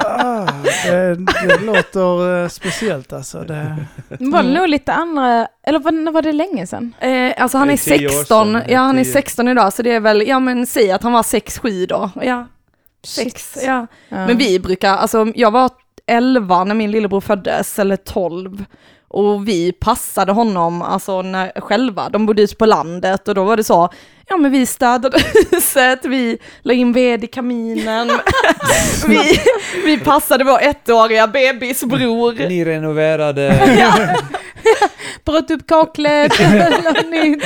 E: Så,
D: Ah, det, det låter eh, speciellt alltså. Det,
B: Var det nog lite andra, eller var, när var det länge sedan?
E: eh, alltså han
C: Det
E: är
C: är tio år
E: 16,
C: sedan,
E: ja han är
C: tio.
E: 16 idag så det är väl, ja men säg att han var 6-7 då. Ja, 6,
B: Shit.
E: ja.
B: Ja.
E: Men vi brukar, alltså jag var 11 när min lillebror föddes, eller 12. Och vi passade honom alltså, när, själva, de bodde ute på landet och då var det så, ja men vi städade huset, vi la in ved i kaminen, vi, vi passade vår ettåriga bebisbror.
C: Ni renoverade
B: Bröt upp kaklet, eller nytt.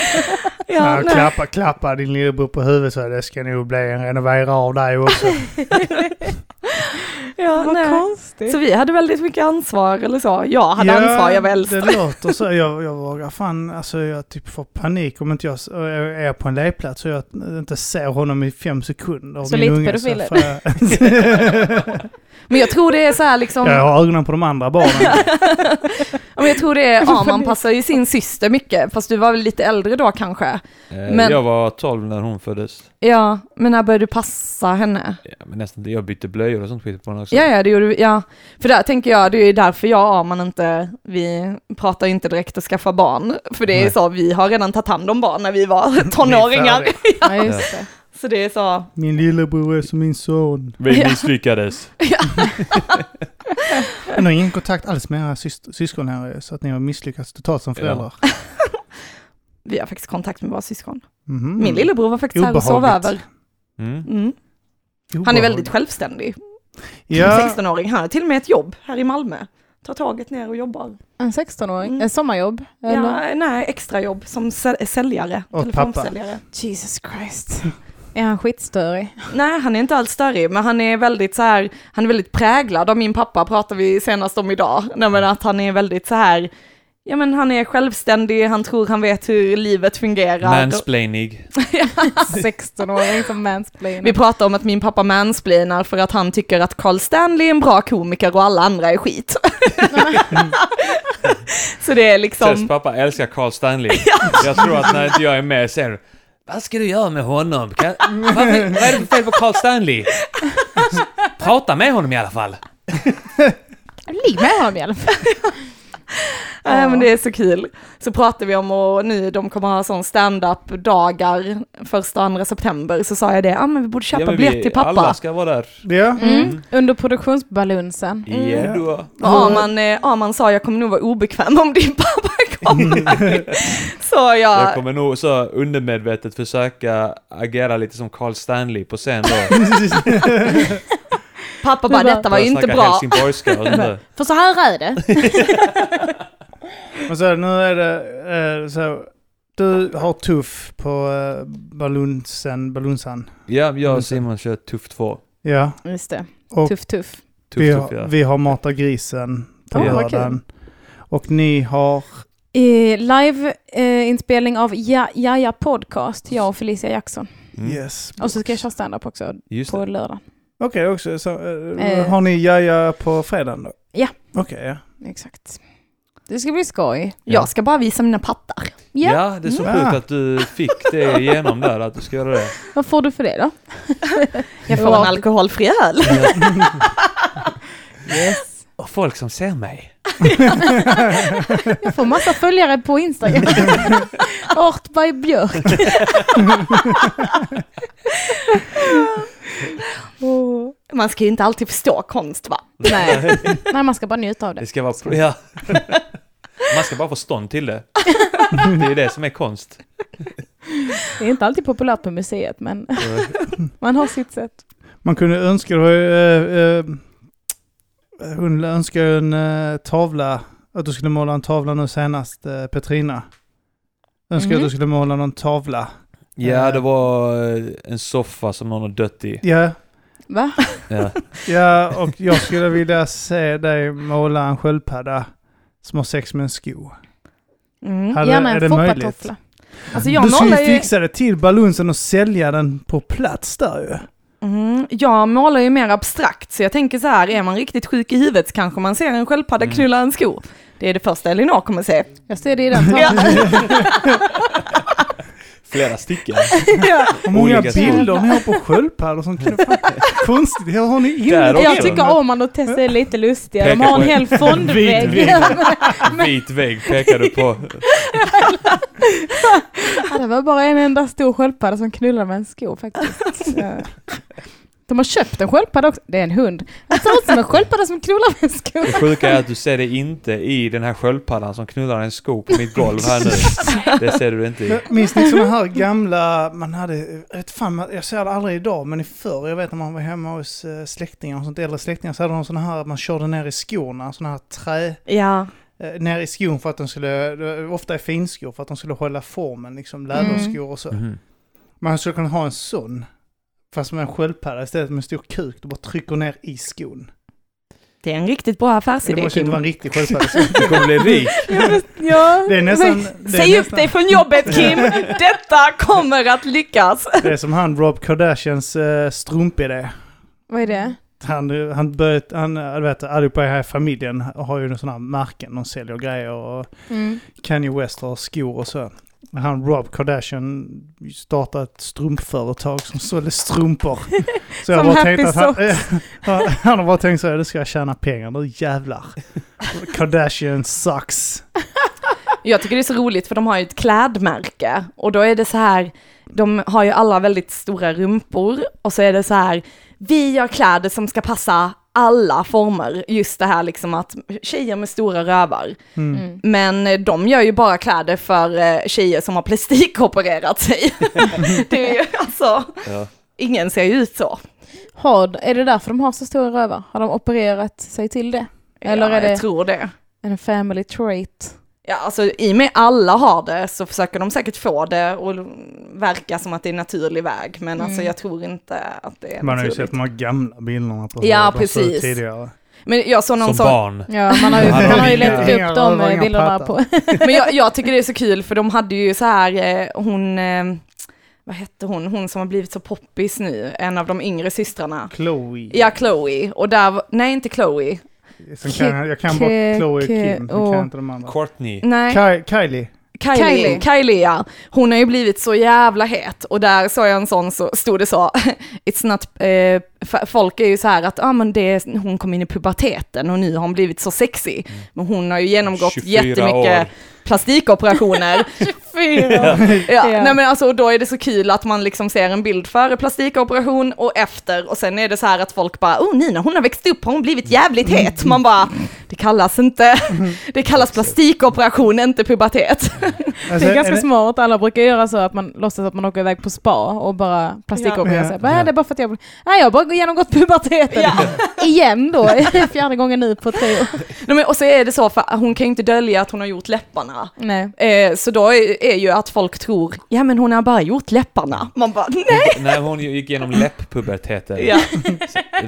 D: ja,
E: Ja, nej.
D: klappa, klappa din lillebror på huvudet så här, det ska nog bli en renovera av dig också.
E: ja,
B: Vad
E: nej.
B: konstigt.
E: Så vi hade väldigt mycket ansvar eller så, jag hade ansvar, jag var äldst.
D: Det låter så. Jag, jag vågar fan, alltså jag typ får panik om inte jag s- är på en lekplats och jag inte ser honom i fem sekunder.
B: Så
D: Min
B: lite
D: unge,
B: pedofiler.
D: får jag,
E: Men jag tror det är så här liksom,
D: jag har ögonen på de andra barnen.
E: ja, men jag tror det är, ja man passar ju sin syster mycket, fast du var väl lite äldre då kanske?
C: Eh,
E: Men-
C: Jag var 12 när hon föddes.
E: Ja, men när började du passa henne?
C: Ja, men nästan, inte. jag bytte blöjor och sånt skit på henne också.
E: Ja, ja, det gjorde vi, ja. För där tänker jag, det är ju därför jag och Arman inte, vi pratar ju inte direkt att skaffa barn. För det är
C: Nej.
E: så, vi har redan tagit hand om barn när vi var tonåringar.
D: Ni är
B: Ja, just det.
E: Så det är så,
D: Min lillebror är som min son.
C: Vi
E: Ja.
C: misslyckades.
D: Jag har ingen kontakt alls med era syst- syskon här ju, så att ni har misslyckats totalt som föräldrar.
E: vi har faktiskt kontakt med våra syskon.
D: Mhm.
E: Min lillebror var faktiskt här och sov
D: Obehagligt.
E: över.
C: Mm.
E: Mm. Han är
D: Obehagligt.
E: väldigt självständig.
D: Ja,
E: 16-åring, han har till och med ett jobb här i Malmö. Tar tåget ner och jobbar.
B: En 16-åring?
E: Mm.
B: Ett sommarjobb? Eller?
E: Ja, nej, extrajobb som säl- säljare.
D: Åt
E: telefonsäljare.
B: Jesus Christ. Är han skitstörig?
E: Nej, han är inte alls störig, men han är väldigt så här, han är väldigt präglad av min pappa, pratade vi senast om idag. Nej, men att han är väldigt så här, ja men han är självständig, han tror han vet hur livet fungerar.
C: Mansplainig.
B: 16-åring som mansplainar.
E: Vi pratar om att min pappa mansplainar för att han tycker att Carl Stanley är en bra komiker och alla andra är skit. så det är
C: Tess
E: liksom,
C: pappa älskar Carl Stanley. Jag tror att när inte jag är med säger du, Vad ska du göra med honom? Kan, vad, vad är det för fel på Carl Stanley? Prata med honom i alla fall.
B: Ligg med honom i alla fall.
E: äh, men det är så kul. Så pratar vi om och nu de kommer ha sån stand-up dagar första och andra september så sa jag det, ja ah, men vi borde köpa
C: men
E: biljett
C: vi-
E: till pappa.
C: Alla ska vara där.
D: ja.
B: Mm. Under produktionsbalunsen.
E: Mm.
C: Ja, då.
E: Och
D: Mm.
E: Arman, eh, Arman sa jag kommer nog vara obekväm om din pappa kommer. så jag,
C: Jag kommer nog så undermedvetet försöka agera lite som Carl Stanley på scen då.
E: pappa bara detta var ju
C: Börja
E: inte
C: snacka
E: bra.
C: helsingborgska och sånt där.
B: För så här är det.
D: Men så här, nu är det eh, så. Du har tuff på eh, Balunsen, Balunsan.
C: Ja, jag och Simon kör Tuff 2.
D: Ja,
B: Just det.
D: och
B: Tuff, tuff.
C: Tuff
D: vi,
C: Tuff, ja.
D: har, vi har Mata Grisen
B: Ah,
D: på
C: Ja.
D: lördagen. Och ni har...
B: Eh, Live-inspelning eh, av ja, Jaja Podcast, jag och Felicia Jackson.
C: Mm.
D: Yes.
B: Och så ska jag köra standup också
C: Just
B: på
C: det.
B: lördag.
D: Okej, också. Så, eh,
B: Eh.
D: Har ni Jaja på fredagen då?
B: Ja.
D: Okej, ja.
B: Exakt. Det ska bli skoj.
C: Ja.
E: Jag ska bara visa mina pattar.
B: Ja.
C: Ja, det är så
D: Mm.
C: sjukt att du fick det igenom där, att du ska göra det.
B: Vad får du för det då?
E: Jag får en alkoholfri öl.
B: Yes.
C: Och folk som ser mig.
B: Jag får massa följare på Instagram. Art by Björk. Åh.
E: Man ska ju inte alltid förstå konst va?
B: Nej. Nej, man ska bara njuta av
C: Det
B: det.
C: ska vara... Ja. Man ska bara få stånd till det. Det är det som är konst.
B: Det är inte alltid populärt på museet, men man har sitt sätt.
D: Man kunde önska, det var ju, eh, eh, hon önskade ju en eh, tavla, att du skulle måla en tavla nu senast, eh, Petrina. Önskade
B: Mhm.
D: att du skulle måla någon tavla.
C: Ja, det var eh, en soffa som någon har dött i.
D: Ja,
B: Va?
C: Ja.
D: ja och jag skulle vilja se dig måla en sköldpadda som har sex med en sko.
E: Mm.
D: Hade,
B: Gärna
D: är det
B: en
D: möjligt?
B: foppatoffla.
E: Alltså jag
D: du skulle
E: målar
D: ju
E: ju,
D: fixa det till balunsen och sälja den på plats där ju.
E: mm, jag målar ju mer abstrakt så jag tänker så här, är man riktigt sjuk i huvudet så kanske man ser en sköldpadda
C: Mm.
E: knulla en sko. Det är det första Elinor kommer se.
B: Jag ser det i den
E: Ja.
B: tavlan.
C: Flera stycken.
D: Och många
C: Olika
D: bilder ni har på sköldpaddor som fan, Konstigt, hur har ni in
C: Där
B: Jag
C: också.
B: tycker Åman och Tess är lite lustiga. De
C: Peka
B: har
C: på
B: en hel fondvägg.
D: Vid-
C: Vit vägg pekar du på.
B: Ja, det var bara en enda stor sköldpadda som knullade med en sko faktiskt. Så. De har köpt en sköldpadda också. Det är en hund. Han ser ut som en sköldpadda som knullar med en sko.
C: Det sjuka är att du ser det inte i den här sköldpaddan som knullar en sko på mitt golv här nu. Det ser du inte i.
D: Men Minns ni sådana här gamla, man hade, jag vet fan, jag ser det aldrig idag, men i förr, jag vet när man var hemma hos eh, släktingar och sånt, äldre släktingar, så hade de sådana här, man körde ner i skorna, sådana här trä,
E: Ja,
D: eh, ner i skon för att de skulle, det var ofta i finskor, för att de skulle hålla formen, liksom läderskor och så.
C: Mhm.
D: Man skulle kunna ha en sån, fast med en sköldpadda istället med en stor kuk, du bara trycker ner i skon.
E: det är en riktigt bra
D: Det,
E: affärsidé.
D: måste inte
E: Kim.
D: vara en riktig sköldpadda.
C: Du kommer bli rik.
B: Ja,
D: Det är nästan... det är
E: Säg upp
D: nästan-
E: dig från jobbet Kim! Detta kommer att lyckas!
D: Det är som han Rob Kardashians eh, strumpidé.
B: Vad är det?
D: Han, han, börjat, han eh, du vet, allihopa i den här
B: Mm.
D: familjen har ju en sån här märken, de säljer grejer och Kanye West har skor och så. han Rob Kardashian startade ett strumpföretag som sålde strumpor. Så
B: Som Happy
D: han, han, han har bara tänkt så här, nu ska jag tjäna pengar, nu jävlar. Kardashian sucks.
E: Jag tycker det är så roligt för de har ju ett klädmärke och då är det så här, de har ju alla väldigt stora rumpor och så är det så här, vi gör kläder som ska passa alla former, just det här liksom att tjejer med stora rövar.
B: Mm.
E: Men eh, de gör ju bara kläder för eh, tjejer som har plastikopererat sig. det är ju alltså,
C: Ja.
E: ingen ser ju ut så.
B: Har, är det därför de har så stora rövar? Har de opererat sig till det? Eller
E: ja,
B: är det-
E: Jag tror det.
B: En family trait?
E: Ja, alltså i och med alla har det så försöker de säkert få det och verka som att det är en naturlig väg. Men alltså
B: Mm.
E: jag tror inte att det är
D: Man har ju
E: naturligt.
D: sett de här gamla bilderna på
E: Ja,
D: hur de såg ut
E: precis.
D: tidigare.
E: Men jag såg någon
C: Som
E: som...
C: barn.
B: Ja, man har ju,
C: Hallå,
B: man har ju
C: inga-
B: letat
D: inga
B: upp de
D: rövar, inga
B: eh, bilderna
D: pattar.
B: på...
E: Men jag, jag tycker det är så kul för de hade ju så här, eh, hon, eh, vad hette hon, hon som har blivit så poppis nu, en av de yngre systrarna.
D: Chloe.
E: Ja, Chloe. Och där, var- nej inte Chloe.
D: Sen kan jag, jag kan bara
B: Ke-
D: Chloe och
B: ke-
D: Kim, sen kan
B: och-
D: jag inte de andra.
C: Courtney.
E: Nej.
D: Ki- Kylie.
E: Kylie.
B: Kylie.
E: Kylie. ja. Hon har ju blivit så jävla het och där såg jag en sån så stod det så, it's not, eh, f- folk är ju så här att ah, men det, är- hon kom in i puberteten och nu har hon blivit så sexy. Men hon har ju genomgått
C: 24
E: jättemycket
C: år.
E: plastikoperationer.
B: 24!
E: ja.
B: Ja.
E: Nej, men alltså, och då är det så kul att man liksom ser en bild före plastikoperation och efter och sen är det så här att folk bara, oh Nina hon har växt upp, har hon blivit jävligt het? Man bara, det kallas inte, det kallas plastikoperation, inte pubertet.
B: Det
D: Alltså,
B: är ganska
D: det-
B: smart. Alla brukar göra så att man låtsas att man åker iväg på spa och bara plastikopererar
D: Ja.
B: sig. Bara, "Nej, Det är bara för att jag... Nej, jag har bara genomgått puberteten.
E: Ja.
B: Igen då. Fjärde gången nu på tre år.
E: Nej, men, och så är det så, för hon kan ju inte dölja att hon har gjort läpparna.
B: Nej.
E: Eh, så då är, är ju att folk tror, ja men hon har bara gjort läpparna. Man bara, nej!
C: När hon gick igenom läpppuberteten.
E: Ja.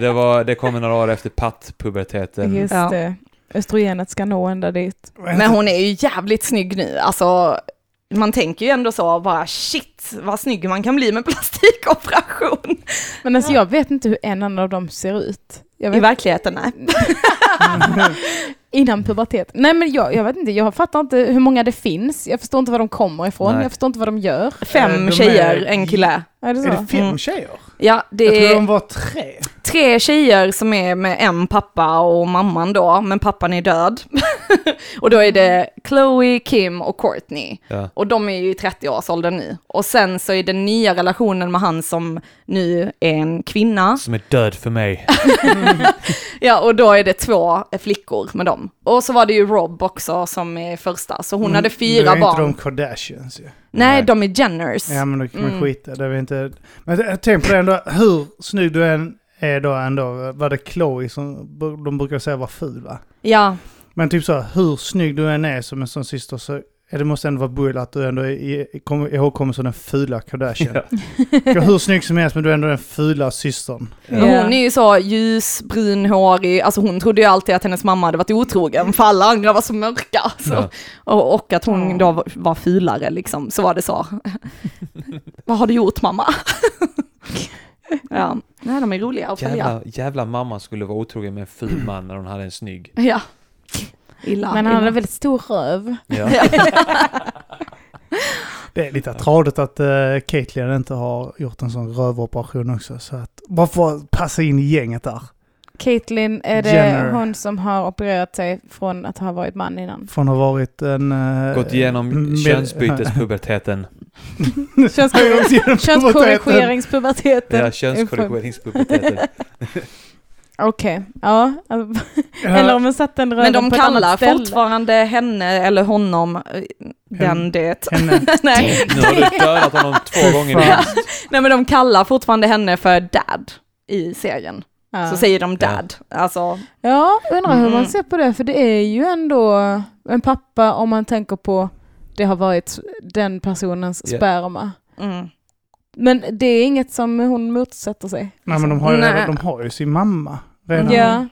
C: Det, var, det kom några år efter pattpuberteten.
B: Just
E: Ja.
B: det. Östrogenet ska nå ända dit.
E: Men hon är ju jävligt snygg nu, alltså man tänker ju ändå så, bara shit vad snygg man kan bli med plastikoperation.
B: Men alltså jag vet inte hur en annan av dem ser ut. Jag
E: I
B: vet,
E: verkligheten, nej.
B: innan pubertet. Nej men jag, jag vet inte, jag fattar inte hur många det finns. Jag förstår inte var de kommer ifrån.
C: Nej.
B: Jag förstår inte vad de gör.
E: Fem
D: Eh, de är-
E: tjejer, en kille.
B: Är det så?
D: Är det fem
E: Mm.
D: tjejer?
E: Ja,
D: Jag
E: det
D: tror
E: är
D: de var tre.
E: tre tjejer som är med en pappa och mamman då, men pappan är död. och då är det Chloe, Kim och Courtney.
C: Ja.
E: Och de är ju i 30-årsåldern nu. Och sen så är den nya relationen med han som nu är en kvinna.
C: Som är död för mig.
E: Ja, och då är det två flickor med dem. Och så var det ju Rob också som är första, så hon hade fyra
D: Nu Mm. är
E: barn.
D: inte de Kardashians ju.
E: Nej, de är Jenners.
D: Ja men då kan man skita det. Är väl inte... Men jag tänker på det ändå, hur snygg du än är då ändå, var det Chloe som de brukar säga var ful va?
E: Ja,
D: Men typ så, här, hur snygg du än är som en sån syster så är det måste ändå vara bull att du ändå är i- kom- ihågkommen som den fula Kardashian.
C: Ja.
D: Ja. Hur snygg som helst men du är ändå den fula systern.
E: men hon är ju så ljus, brunhårig, alltså hon trodde ju alltid att hennes mamma hade varit otrogen, för alla andra var så mörka. Så.
C: Ja.
E: Och, och att hon då var- var fulare liksom, så var det så. Vad har du gjort mamma? ja, nej de är roliga att följa.
C: Jävla, jävla mamma skulle vara otrogen med en ful man när hon hade en snygg.
E: Ja. Illa.
B: Men han
E: illa.
B: hade väldigt stor röv.
C: Ja.
D: Det är lite tradigt att uh, Caitlyn inte har gjort en sån rövoperation också. Så att, bara för att passa in i gänget där.
B: Caitlyn, är det
D: Jenner.
B: hon som har opererat sig från att ha varit man innan?
D: Från att ha varit en... eh,
C: Gått igenom
E: Mm,
D: med-
C: könsbytespuberteten.
B: Könskorre- Könskorrigeringspuberteten.
C: Ja, könskorrigeringspuberteten.
B: Okej, ja. alltså, Eller om man satt den röven
E: Men
B: på
E: de
B: ett
E: kallar
B: annat ställe.
E: fortfarande henne eller honom eh, den det.
D: Henne.
E: nej,
C: Nu har du dödat honom två gånger
D: Fan.
C: minst.
E: nej, men de kallar fortfarande henne för dad i serien.
B: Ja.
E: Så säger de dad. Alltså,
B: Ja, undrar hur man
E: Mm.
B: ser på det, för det är ju ändå en pappa om man tänker på det har varit den personens
C: Ja.
B: sperma.
E: mm.
B: Men det är inget som hon motsätter sig. Alltså.
D: Nej men de har, ju,
E: Nej.
D: de har ju sin mamma redan.
B: Ja.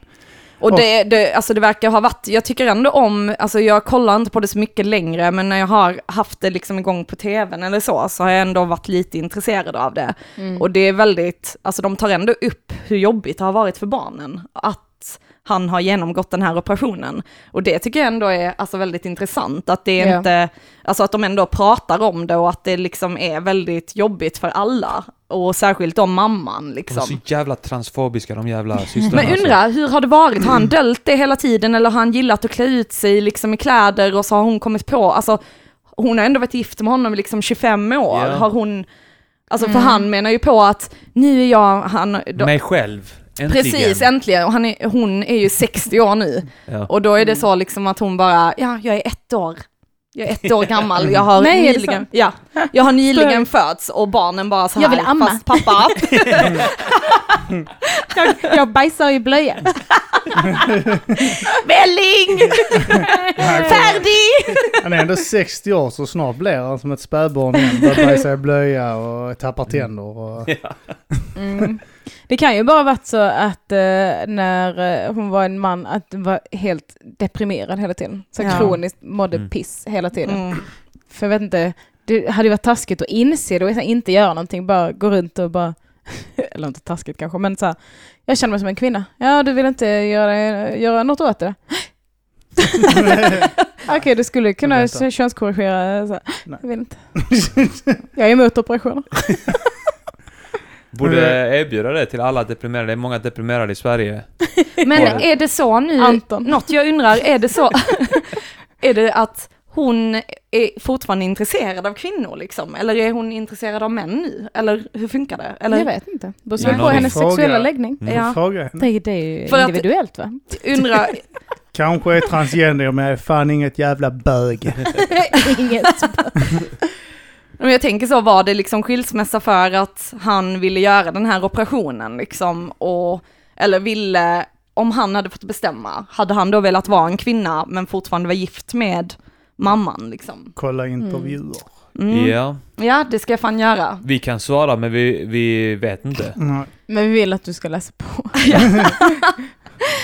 E: Och
D: Och-
E: det, det, alltså det verkar ha varit, jag tycker ändå om, alltså jag kollar inte på det så mycket längre, men när jag har haft det liksom igång på tvn eller så, så har jag ändå varit lite intresserad av det. Och det är väldigt, alltså de tar ändå upp hur jobbigt det har varit för barnen. Att han har genomgått den här operationen. Och det tycker jag ändå är alltså, väldigt intressant, att, det är
B: Ja.
E: inte, alltså, att de ändå pratar om det och att det liksom är väldigt jobbigt för alla. Och särskilt om mamman
C: De är så
E: liksom.
C: jävla transfobiska de jävla systrarna. alltså.
E: Men undra, hur har det varit? Har han
C: Mm.
E: döljt det hela tiden eller har han gillat att klä ut sig liksom i kläder och så har hon kommit på, alltså hon har ändå varit gift med honom i liksom 25 år.
C: Ja.
E: Har hon, alltså
B: Mm.
E: för han menar ju på att nu är jag, han,
C: Alltså. Mig själv. Äntligen.
E: Precis, äntligen. Och han är, hon är ju 60 år nu.
C: Ja.
E: Och då är det så liksom att hon bara, ja, jag är ett år. Jag är ett år gammal, jag har
B: Nej, är det
E: nyligen,
B: sant?
E: ja, jag har nyligen fötts och barnen bara så här,
B: Jag vill amma.
E: fast pappa,
B: Jag, jag bajsar i blöjan.
E: välling, färdig!
D: Han är ändå 60 år så snart blir han som ett spädbarn igen. Börjar bajsa i blöja och tappar tänder. Och...
B: Mm. Det kan ju bara varit så att eh, när eh, hon var en man, att hon var helt deprimerad hela tiden. Så
E: Ja.
B: kroniskt mådde
C: Mm.
B: piss hela tiden.
E: Mm.
B: För jag vet inte, det hade ju varit taskigt att inse det och inte göra någonting, bara gå runt och bara eller inte taskigt kanske, men så här, jag känner mig som en kvinna. Ja, du vill inte göra, göra något åt det? Okej, du skulle kunna
D: Vänta.
B: könskorrigera. Så här.
D: Nej.
B: Jag vill inte. Jag är emot operationer.
C: Borde erbjuda det till alla deprimerade. Det är många deprimerade i Sverige.
E: Men
C: Ja.
E: är det så nu,
B: Anton.
E: något jag undrar, är det så, är det att hon är fortfarande intresserad av kvinnor liksom? Eller är hon intresserad av män nu? Eller hur funkar det? Eller?
B: Jag vet inte. Det beror
C: Ja,
B: väl på
C: någon
B: hennes
D: fråga.
B: sexuella läggning.
C: Mm.
E: Ja.
D: Fråga henne.
B: Det, det är ju
E: För att-
B: individuellt va?
E: Undrar,
D: Kanske är transgender men jag är fan inget jävla bög.
B: Inget.
E: Men jag tänker så, var det liksom skilsmässa för att han ville göra den här operationen liksom? Och, eller ville, om han hade fått bestämma, hade han då velat vara en kvinna men fortfarande vara gift med mamman liksom?
D: Kolla intervjuer.
E: Mm.
C: Ja,
E: Ja, det ska jag fan göra.
C: vi kan svara men vi, vi vet inte.
D: Nej.
B: Men vi vill att du ska läsa på.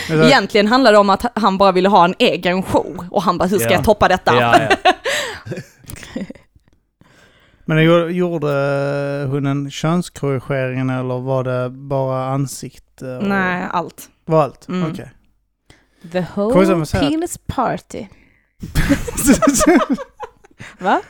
D: Men så-
E: Egentligen handlar det om att han bara ville ha en egen show och han bara, hur ska
C: Ja.
E: jag toppa detta?
C: Ja, ja.
D: Men gjorde, gjorde eh, hon en könskorrigering eller var det bara ansikte? och-
E: Nej, allt.
D: Var allt?
E: Mm.
D: Okej.
B: The
D: Kom igen,
B: whole
D: vad säger jag?
B: penis party. Va?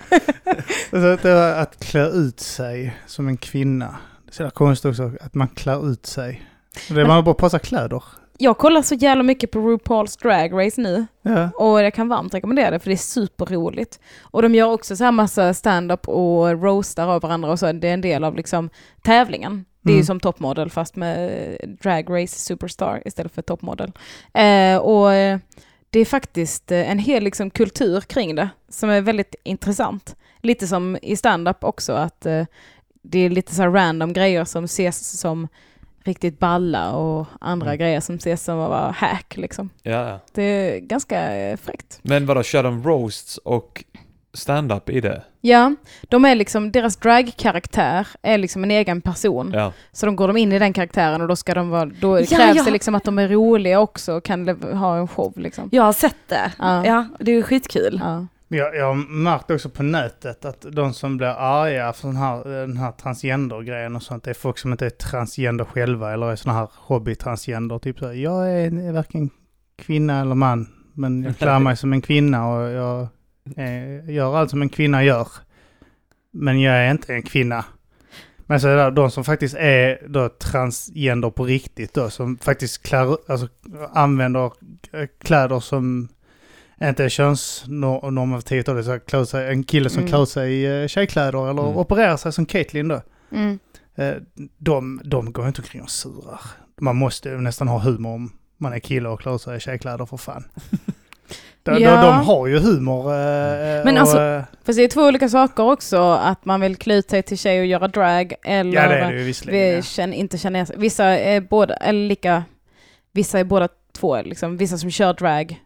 D: Alltså, det var att klä ut sig som en kvinna. Det är så jävla konstigt också att man klär ut sig. Det är man bara passar kläder.
B: Jag kollar så jävla mycket på RuPaul's Drag Race nu.
D: Ja.
B: Och jag kan varmt rekommendera det för det är superroligt. Och de gör också så här massa stand-up och roastar av varandra och så. Det är en del av liksom tävlingen. Det är ju
D: Mm.
B: som toppmodell fast med eh, Drag Race Superstar istället för toppmodell. Eh, och eh, det är faktiskt eh, en hel liksom, kultur kring det som är väldigt intressant. Lite som i stand-up också att eh, det är lite så här random grejer som ses som riktigt balla och andra
C: Mm.
B: grejer som ses som att vara hack liksom.
C: ja, ja.
B: Det är ganska eh, fräckt.
C: Men vadå, kör de roasts och stand-up i det?
B: Ja, de är liksom, deras dragkaraktär är liksom en egen person.
C: Ja.
B: Så de går de in i den karaktären och då ska de vara, då
E: Ja,
B: krävs
E: ja.
B: det liksom att de är roliga också och kan lev- ha en show liksom.
E: Jag har sett det.
B: Ja.
E: Ja, det är ju skitkul.
B: Ja.
D: Men Jag, jag har märkt också på nätet att de som blir arga för den här, den här transgender-grejen och sånt, det är folk som inte är transgender själva eller är sådana här hobby-transgender. Typ så här, jag är, är varken kvinna eller man, men jag klär mig som en kvinna och jag eh, gör allt som en kvinna gör. Men jag är inte en kvinna. Men så är det de som faktiskt är då transgender på riktigt då, som faktiskt klär, alltså, använder eh, kläder som inte är könsnormativt. Då, det är så här, klär sig, en kille som
B: Mm.
D: klär sig i eh, tjejkläder eller
C: Mm.
D: opererar sig som Caitlyn då.
B: Mm.
D: Eh, De, de går inte omkring och surar. Man måste ju nästan ha humor om man är kille och klär sig i tjejkläder för fan. De, de,
B: Ja.
D: de har ju humor. eh,
E: Men
D: och,
E: alltså-
D: eh,
B: Fast det är två olika saker också, att man vill klä ut sig till tjej och göra drag eller
D: Ja det är det ju visserligen.
B: vi
D: ja.
B: känner, inte känner igen sig. Vissa är båda, eller lika, vissa är båda två liksom. Vissa som kör drag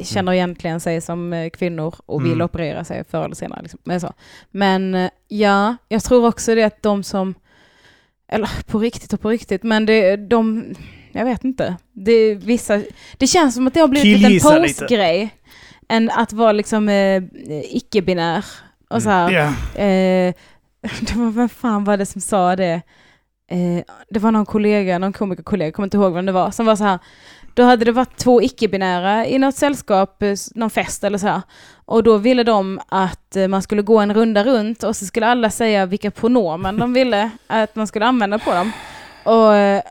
B: känner egentligen sig som eh, kvinnor och vill
D: Mm.
B: operera sig förr eller senare. Liksom. Men, så. men eh, ja, jag tror också det att de som, eller på riktigt och på riktigt, men det, de, jag vet inte. Det, är vissa, det känns som att det har blivit en
D: Killgissa lite.
B: pose-grej. Än att vara liksom eh, icke-binär. Och så här,
D: Ja.
B: Eh, det var, vem fan var det som sa det? Eh, det var någon kollega, någon komikerkollega, jag kommer inte ihåg vem det var, som var så här Då hade det varit två icke-binära i något sällskap, eh, s- någon fest eller så här. Och då ville de att eh, man skulle gå en runda runt och så skulle alla säga vilka pronomen de ville att man skulle använda på dem. Och, eh,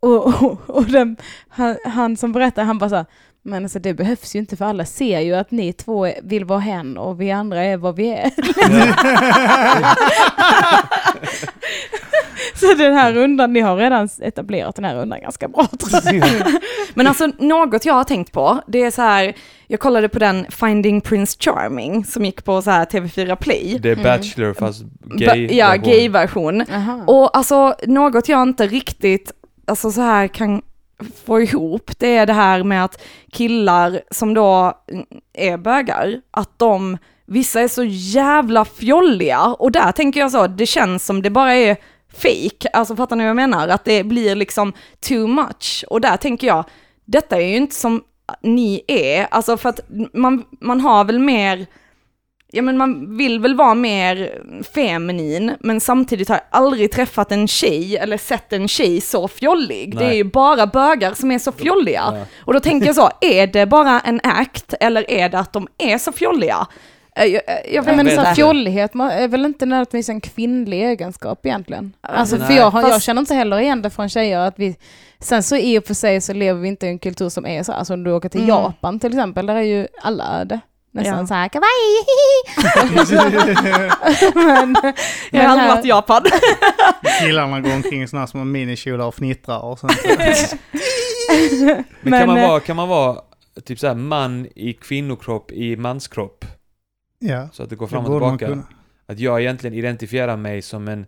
B: och, och, och den, han, han som berättar, han bara så här, men alltså det behövs ju inte för alla ser ju att ni två är- vill vara hen och vi andra är vad vi är. Så den här rundan, ni har redan etablerat den här rundan ganska bra tror jag.
E: Men alltså något jag har tänkt på, det är så här, jag kollade på den Finding Prince Charming som gick på så här TV4 Play.
C: Det är Bachelor fast
E: Ba-
C: gay.
E: ja, gay-version.
B: Aha.
E: Och alltså något jag inte riktigt, alltså så här kan få ihop, det är det här med att killar som då mm, är bögar, att de, vissa är så jävla fjolliga och där tänker jag så, det känns som det bara är fake, alltså fattar ni vad jag menar? Att det blir liksom too much och där tänker jag, detta är ju inte som ni är, alltså för att man, man har väl mer ja men man vill väl vara mer feminin, men samtidigt har jag aldrig träffat en tjej eller sett en tjej så fjollig.
C: Nej.
E: Det är ju bara bögar som är så fjolliga. Och då tänker jag så, är det bara en act eller är det att de är så fjolliga? Eh, Jag, eh, jag vet
B: Nej, men
E: inte.
B: så här,
C: vet.
B: fjollighet man- är väl inte nödvändigtvis en kvinnlig egenskap egentligen? Alltså, för
C: nej.
B: jag, har, jag
E: Fast-
B: känner inte heller igen det från tjejer. Att vi, sen så i och för sig så lever vi inte i en kultur som är så här. Alltså om du åker till
E: Mm.
B: Japan till exempel, där är ju alla det. Nästan
E: Ja.
B: så här kawaii. men,
E: Jag har
B: men
E: aldrig
B: här-
E: varit i Japan.
D: Killarna går omkring i sådana här små minikjolar och fnittrar och sen
C: Men,
B: Men,
C: kan, man
B: eh,
C: vara, kan man vara typ såhär man i kvinnokropp i manskropp?
D: Ja,
C: Så att det går
D: det
C: fram och
D: borde man
C: tillbaka.
D: kunna.
C: Att jag egentligen identifierar mig som en,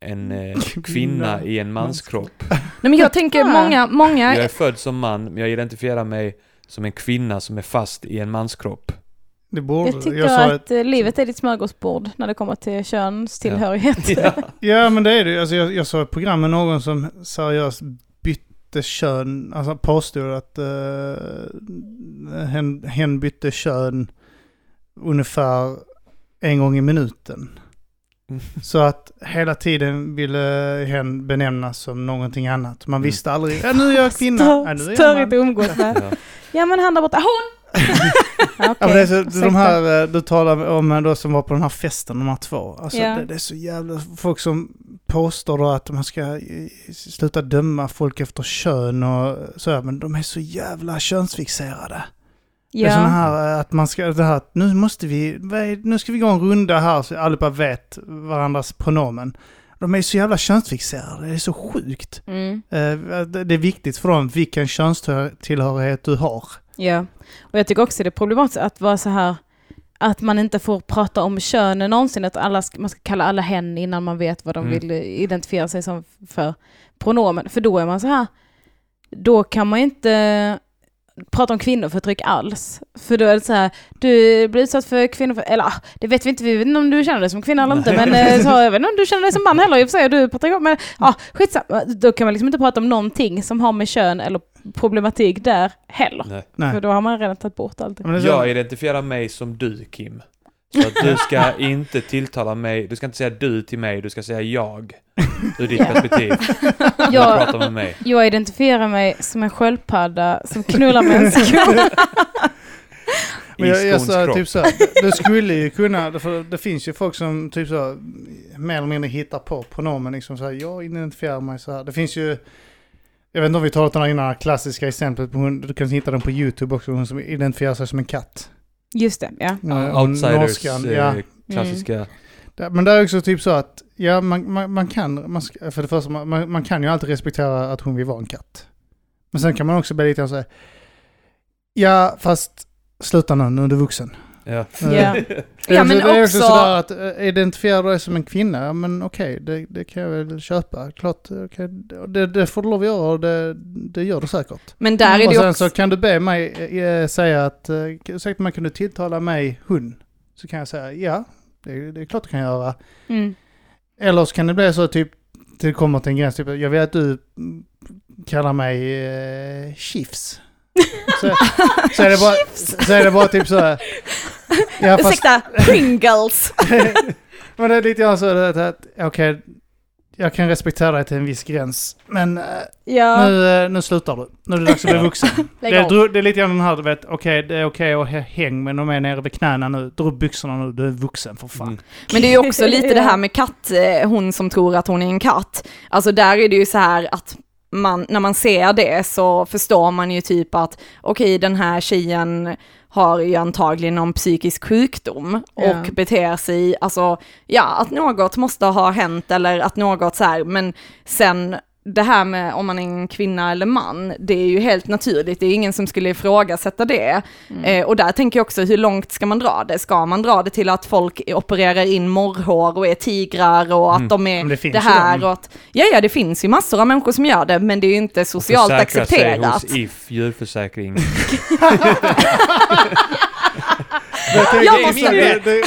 C: en eh, kvinna i en manskropp.
E: Nej, men jag tänker
B: Ah.
E: många, många,
C: Jag är född som man, men jag identifierar mig som en kvinna som är fast i en manskropp.
D: Det borde
B: Jag tycker
D: sa
B: att eh, livet är ditt smörgåsbord när det kommer till könstillhörighet.
C: Ja.
D: Ja men det är det ju. alltså, jag, jag såg ett program med någon som seriöst bytte kön, alltså påstod att uh, hen, hen bytte kön ungefär en gång i minuten. Så att hela tiden ville hen benämnas som någonting annat.
C: Mm.
D: Man visste aldrig, ja, nu är jag kvinna, ja, nu är
B: Störigt
D: jag
B: att
D: man.
B: umgås med.
C: Ja.
B: Ja men han där borta, hon! Ja,
D: Ja, men
B: okej.
D: det är så, de här, eh, du talar om då som var på den här festen, de här två. Alltså,
B: Ja.
D: det, det är så jävla folk som påstår då att man ska eh, sluta döma folk efter kön och sådär, men de är så jävla könsfixerade. Det är
B: ja.
D: sådana här eh, att man ska, det här, att nu måste vi, vad är- nu ska vi gå en runda här så allihopa vet varandras pronomen. De är så jävla könsfixerade, det är så sjukt.
B: Mm.
D: Eh, Det det är viktigt för dem vilken könstillhörighet du har.
B: Ja, och jag tycker också det är problematiskt att vara så här att man inte får prata om könen någonsin, att alla, ska- man ska kalla alla hen innan man vet vad de
C: Mm.
B: vill eh, identifiera sig som för pronomen. För då är man så här, då kan man ju inte eh, prata om kvinnoförtryck alls. För då är det så här, du blir utsatt för kvinnoförtryck, eller ah, det vet vi inte, vi vet inte om du känner dig som kvinna eller inte, men eh, så, jag vet inte om du känner dig som man heller i och för sig, och du pratar igång, men ja, skitsamma. Då kan man liksom inte prata om någonting som har med kön eller problematik där heller.
C: Nej.
B: För
D: Nej.
B: då har man redan tagit bort allt.
D: men det är så-
C: Jag identifierar mig som du, Kim. Så att du ska inte tilltala mig, du ska inte säga du till mig, du ska säga jag. Ur ditt
B: Ja.
C: perspektiv. När du
B: Jag,
C: pratar med mig.
B: jag identifierar mig som en sköldpadda som knullar med en sko.
D: Men
C: I
D: jag, jag
C: skons
D: sa
C: kropp.
D: typ så här, det- det skulle ju kunna, för det finns ju folk som typ så här, mer eller mindre hittar på pronomen liksom så här, jag identifierar mig så här. Det finns ju, jag vet inte om vi talat om det här innan, det här klassiska exemplet på hon, du kan hitta den på YouTube också, hon som identifierar sig som en katt.
B: Just det, ja.
D: Eh, hon
C: Outsiders
D: norskan,
C: eh,
D: ja. Mm.
C: klassiska...
D: Där- Men det är också typ så att, ja man, man, man kan, man, ska- för det första, man, man- man kan ju alltid respektera att hon vill vara en katt. Men sen kan man också bli lite grann så här, ja fast sluta nu, nu är du vuxen.
C: Ja.
D: Eh,
B: Ja.
D: Det är också-
E: Ja, men
D: det är också
E: också-
D: sådär att eh, identifiera dig som en kvinna, ja, men okej, det, det kan jag väl köpa. Klart, eh, okej, det, det får du lov att göra och det, det gör du säkert.
E: men där är
D: och
E: det ju
D: sen
E: också,
D: så kan du be mig eh, säga att, eh, ursäkta man kunde tilltala mig hon. Så kan jag säga ja, det, det är klart du kan göra.
B: Mm.
D: Eller så kan det bli så typ, det kommer till en gräns, typ, jag vet att du mm, kallar mig eh, chifs. Så, så, är det bara, så är det bara typ så här. Ja, fast-
E: ursäkta, Pringles.
D: men det är lite grann så att, att okej, jag kan respektera dig till en viss gräns. Men eh,
E: Ja,
D: nu, eh, nu slutar du. Nu är det dags att bli
C: Ja.
D: vuxen.
E: lägg
D: Det är,
E: av.
D: dro- det är lite grann den här, du vet, okej det är okej att hä- häng men de är nere vid knäna nu. Dra upp byxorna nu, du är vuxen för fan.
C: Mm.
E: Men det är ju också lite det här med katt, eh, hon som tror att hon är en katt. Alltså där är det ju så här att man, när man ser det så förstår man ju typ att okej den här tjejen har ju antagligen någon psykisk sjukdom och
B: Ja.
E: beter sig, alltså ja att något måste ha hänt eller att något så här, men sen det här med om man är en kvinna eller man, det är ju helt naturligt, det är ingen som skulle ifrågasätta det.
D: Mm.
E: Eh, och där tänker jag också, hur långt ska man dra det? Ska man dra det till att folk opererar in morrhår och är tigrar och att de är
D: Mm. Men det
E: det,
D: finns ju
E: här?
D: de.
E: Och att, ja, ja, det finns ju massor av människor som gör det, men det är ju inte socialt
C: Försäkra sig
E: accepterat.
C: hos If djurförsäkring.
E: Jag måste-
D: det, det,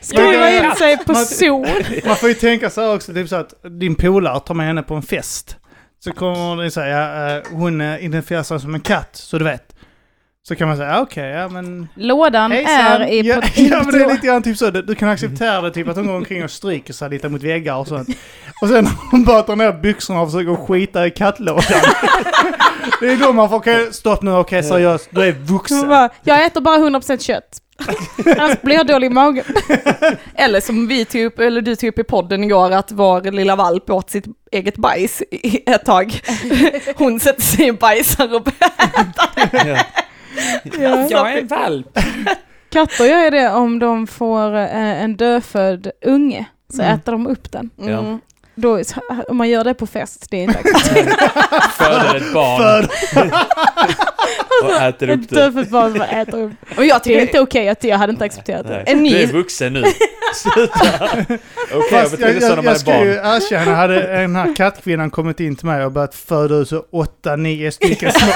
B: Skriva in sig på
D: Man-
B: sol.
D: Man får ju tänka så här också, typ så att din polare tar med henne på en fest. Så kommer det säga, eh, hon eh, identifierar sig som en katt, så du vet. Så kan man säga, "Ah, okej, ja men...
B: Lådan är i...
D: ja,
B: pod-
D: ja men det är lite grann typ så, du, du kan acceptera det typ att hon går omkring och stryker sig lite mot väggar och sånt. Och sen när hon bara tar ner byxorna och försöker skita i kattlådan. det är då man får, okej stopp nu, okej seriöst, du är
B: Hon
D: vuxen.
B: bara, jag äter bara 100% kött. Annars blir jag dålig i magen.
E: Eller som vi tog upp, eller du tog upp i podden igår, att vår lilla valp åt sitt eget bajs i ett tag. Hon sätter sig i bajsar och
C: ja.
B: Ja.
C: Jag är en valp!
B: Katter gör ju det om de får eh, en dödfödd unge. Så äter de upp den.
C: Ja.
E: mm.
B: Då, om man gör det på fest, det är inte acceptabelt.
C: Föder ett barn och äter
B: Ett
C: upp det.
B: dödfött barn som äter upp.
E: Och jag
B: Det är
E: tycker
B: inte okej, att jag hade inte accepterat det.
C: Nej.
E: eh, En ny-
C: Du är vuxen nu. Sluta! Okej, jag
D: Fast
C: betyder
D: jag,
C: så när
D: jag,
C: man
D: jag
C: är
D: ska ju
C: barn.
D: erkänna, hade den här kattkvinnan kommit in till mig och börjat föda ut så åtta, nio stycken små,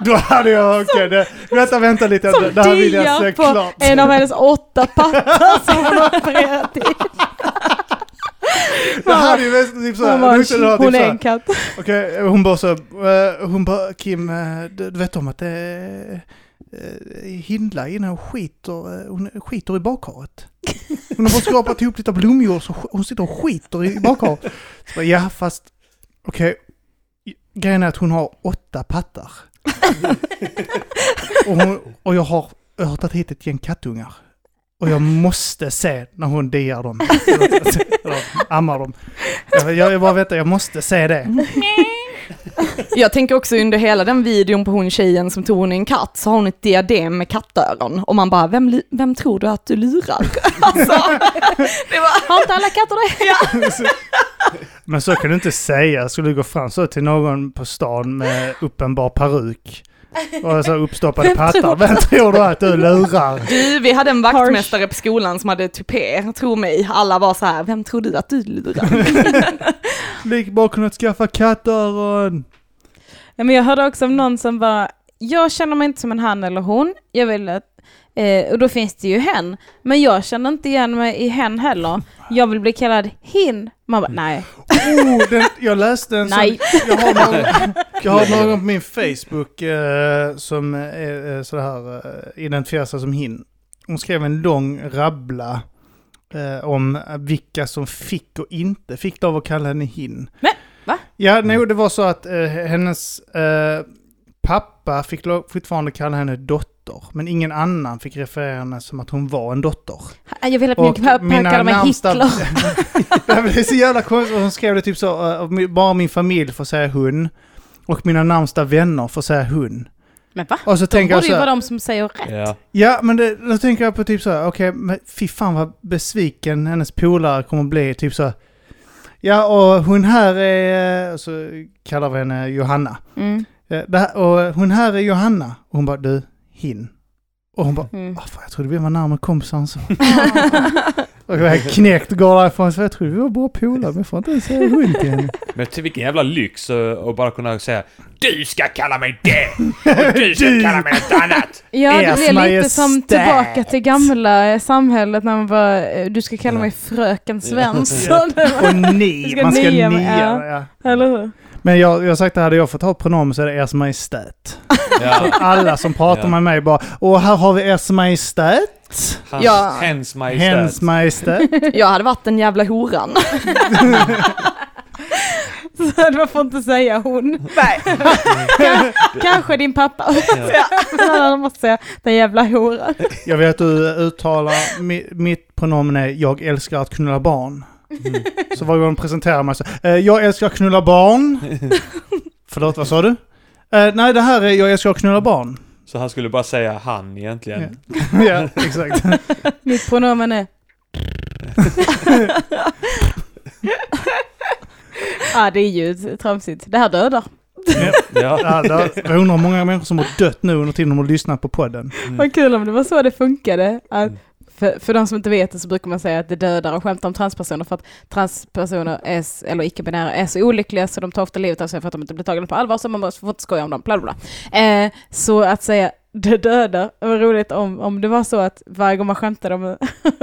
D: då hade jag, okej, det, vänta, vänta lite, det,
B: Som
D: det här vill jag
B: diar
D: se
B: på
D: klart.
B: en av hennes åtta pattar som hon har opererat i.
D: Det här är ju mest typ såhär,
B: Hon,
D: hon, typ
B: bara, hon är en
D: såhär
B: katt.
D: okej, hon bara så, eh, hon bara, Kim, eh, du du vet om att det är eh, hindla innan hon skiter, eh, hon skiter i bakhåret. Hon har bara skrapat ihop lite blomjord så sk- hon sitter och skiter i bakhåret. Så bara, Ja, fast okej, grejen är att hon har åtta pattar. Och, hon, och jag har jag har tagit hit ett gäng kattungar. Och jag måste se när hon diar dem. Alltså, Eller ammar dem. Jag, jag, jag bara väntar, jag måste se det.
E: Jag tänker också under hela den videon på hon tjejen som tror hon är en katt, så har hon ett diadem med kattöron. Och man bara, vem, lu- vem tror du att du lurar? alltså, det var...
B: Har inte alla katter det?
D: Men så kan du inte säga. Skulle du gå fram så till någon på stan med uppenbar peruk och så uppstoppade pattar. Vem tror du att du lurar?
E: Du, vi hade en vaktmästare på skolan som hade tupé, tro mig. Alla var så här, vem tror du att du lurar?
D: Lika bra kunnat skaffa kattöron.
B: Ja, men jag hörde också om någon som bara, jag känner mig inte som en han eller hon. Jag vill att, eh, och då finns det ju hen. Men jag känner inte igen mig i hen heller. Jag vill bli kallad hin. Man bara, nej,
D: Oh, den, jag läste en sån
B: nej.
D: jag har någon, jag har någon på min Facebook eh, som är eh, sådär, eh, identifierar sig som hin. Hon skrev en lång rabbla eh, om vilka som fick och inte fick lov att kalla henne hin.
B: Men, va?
D: Ja, nej, det var så att eh, hennes eh, pappa fick lov, fortfarande kalla henne dotter, men ingen annan fick referera henne som att hon var en dotter.
B: Jag vill att min pappa kallar mig Hitler.
D: Nej, men det är så jävla konstigt. Och Hon skrev det typ så, eh, min- bara min familj får säga hon. Och mina närmsta vänner får säga hon.
B: Men va?
D: Och så
B: De
D: tänker jag
B: borde
D: så
B: ju vara
D: här,
B: de som säger rätt.
C: Ja.
D: Ja, men det, då tänker jag på typ så här, okej, men fy fan vad besviken hennes polare kommer bli. Typ så här, ja och hon här är, eh, och så kallar vi henne Johanna.
B: Mm.
D: Eh, Det här, och hon här är Johanna. Och hon bara, du, hin. Och hon bara,
B: Mm.
D: "Ah, fan, jag trodde vi var närmare kompisar än så. Och jag är knäckt och går därifrån. Så jag trodde vi var bra polare, men jag får inte ens säga hon till henne.
C: Men till vilken jävla lyx eh, att bara kunna säga Du ska kalla mig det! Och du ska
D: Du.
C: kalla mig något annat!
B: Ja, det
D: Ers
B: blir lite som
D: Majestät.
B: tillbaka till gamla eh, samhället när man bara, eh, du ska kalla mig fröken Svensson.
D: Och
B: Du
D: ni,
B: ska
D: man ska
B: nia,
D: nia.
B: ja.
D: Ja.
B: Eller hur?
D: Men jag, jag har sagt att hade jag fått ha pronomen så är det ers majestät.
C: Ja.
D: Alla som pratar
C: Ja.
D: med mig bara och här har vi ers majestät.
C: Hans,
E: Ja.
C: Hens majestät.
D: Hens majestät.
E: Jag hade varit den jävla horan.
B: Så du får inte säga hon. Nej. Kanske din pappa.
C: Ja.
B: Ja. måste säga den jävla horan.
D: Jag vet att du uttalar, mi, mitt pronomen är jag älskar att knulla barn.
C: Mm.
D: Så varje gång de presenterar mig så, eh, jag älskar att knulla barn. Förlåt, vad sa du? Eh, nej, det här är jag älskar att knulla barn.
C: Så han skulle bara säga han egentligen.
D: ja, exakt.
B: Mitt pronomen är... ja, det är ju tramsigt. Det här dödar.
C: Ja.
D: Ja, där, jag undrar hur många människor som har dött nu under tiden de har lyssnat på podden.
B: Vad kul om det var så det funkade.
D: Mm.
B: Att för, för de som inte vet det så brukar man säga att det dödar och skämta om transpersoner för att transpersoner är, s- eller icke-binära är så olyckliga så de tar ofta livet av sig för att de inte blir tagna på allvar så man måste- får inte skoja om dem. Bla bla bla. Eh, så att säga det dödar, det var roligt om, om det var så att varje gång man skämtade om,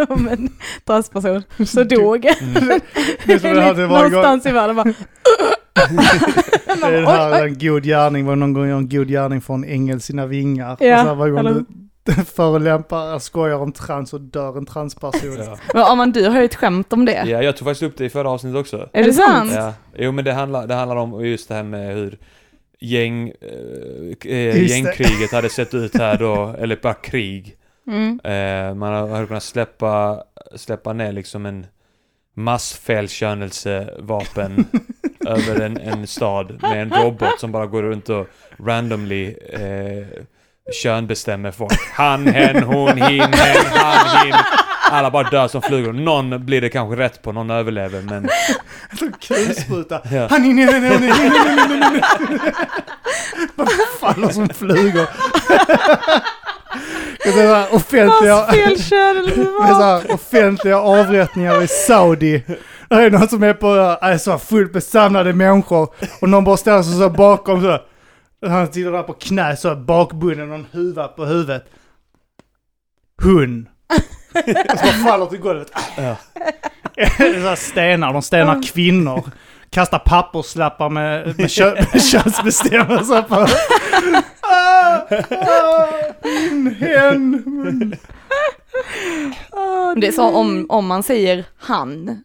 B: om en transperson så dog
D: Det är som det hade varit gång-
B: någonstans i världen. Bara,
D: det är den här en god gärning, var det någon gång jag en god gärning från Ängel sina vingar.
B: Ja,
D: och så här, varje gång
B: eller-
D: du förolämpar, skojar om trans och dör en transperson.
C: Ja.
E: Men Arman, du har ju ett skämt om det.
C: ja, jag tog faktiskt upp det i förra avsnittet också.
B: är det sant?
D: Mm.
C: Ja. Jo men det handlar, det handlar om just det här med hur gäng, eh, k- eh,
D: Just det.
C: gängkriget hade sett ut här då, eller bara krig.
B: Mm.
C: Eh, man har- hade kunnat släppa, släppa ner liksom en massfelkönelsevapen över en, en stad med en robot som bara går runt och randomly eh, könbestämmer folk. Han, hen, hon, hin, hen, han, hin. Alla bara dör som flugor. Någon blir det kanske rätt på, någon överlever men...
D: Kulspruta.
C: Ja.
D: Han in, in, in, in, in, in, in, in, in, in. Vad faller som flugor. Det är så här offentliga,
B: Vars fel kön eller
D: det är så här offentliga avrättningar i Saudi. Det är någon som är på, är så här fullt besamlade människor och någon bara står så så här bakom så. här. Han sitter där på knä så här bakbunden, någon huva på huvudet. Hon. Och så bara faller till golvet.
C: Ja.
D: Det är så här stenar, de stenar kvinnor. Kastar papperslappar med, med, kö, med könsbestämmelser på. Ah, ah, Min hen.
E: Det är så om, om man säger han,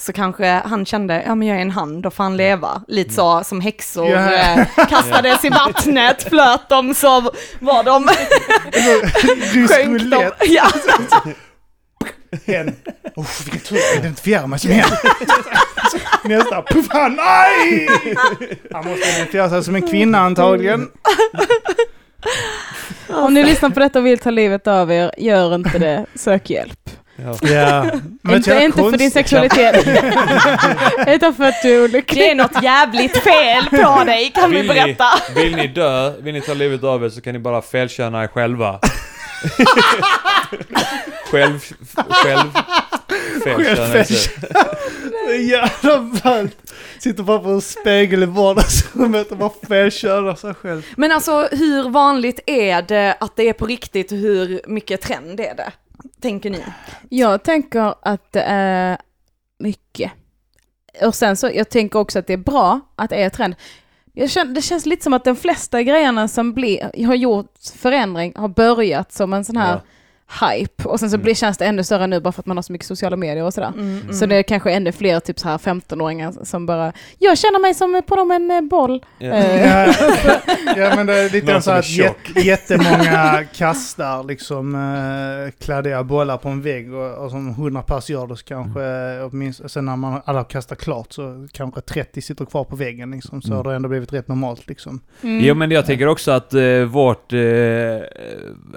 E: så kanske han kände, ja men jag är en han, då får han leva. Lite så som häxor
D: Ja.
E: eh, kastades i vattnet, flöt de så var de,
D: Rysk
E: sjönk de.
D: roulette.
E: Ja.
D: Hen. Usch, vilken tur jag identifierar mig som hen. Nästa. Puff, han. Nej! Han måste identifiera sig som en kvinna antagligen.
B: Om ni lyssnar på detta och vill ta livet av er, gör inte det. Sök hjälp.
C: Ja.
D: Ja.
B: inte inte för din sexualitet. Utan för att du är olycklig.
E: Det är något jävligt fel på dig, kan vi
C: Vill ni,
E: berätta.
C: vill ni dö, vill ni ta livet av er så kan ni bara felköna er själva. själv... Själv... Felkönelse.
D: Jävla ballt. Sitter bara på en spegel i vardagsrummet och bara felkönar sig själv.
E: Men alltså hur vanligt är det att det är på riktigt och hur mycket trend är det? Tänker ni?
B: Jag tänker att det är mycket. Och sen så, jag tänker också att det är bra att det är trend. Jag känner, det känns lite som att de flesta grejerna som blir, har gjort förändring har börjat som en sån här hype. Och sen så blir, känns det ännu större nu bara för att man har så mycket sociala medier och sådär. Så det är kanske ännu fler typ så här 15-åringar som bara, jag känner mig som på dem en eh, boll.
C: Ja.
B: Eh,
D: Ja, alltså, ja men det är lite
C: Någon
D: så
C: som är
D: att jät- jättemånga kastar liksom eh, kladdiga bollar på en vägg och, och som 100 pers gör det så kanske
C: Mm.
D: eh, åtminstone, sen när man alla har kastat klart så kanske 30 sitter kvar på väggen liksom. Så
C: Mm.
D: har det ändå blivit rätt normalt liksom.
B: mm.
C: Jo men jag tänker också att eh, vårt... Eh,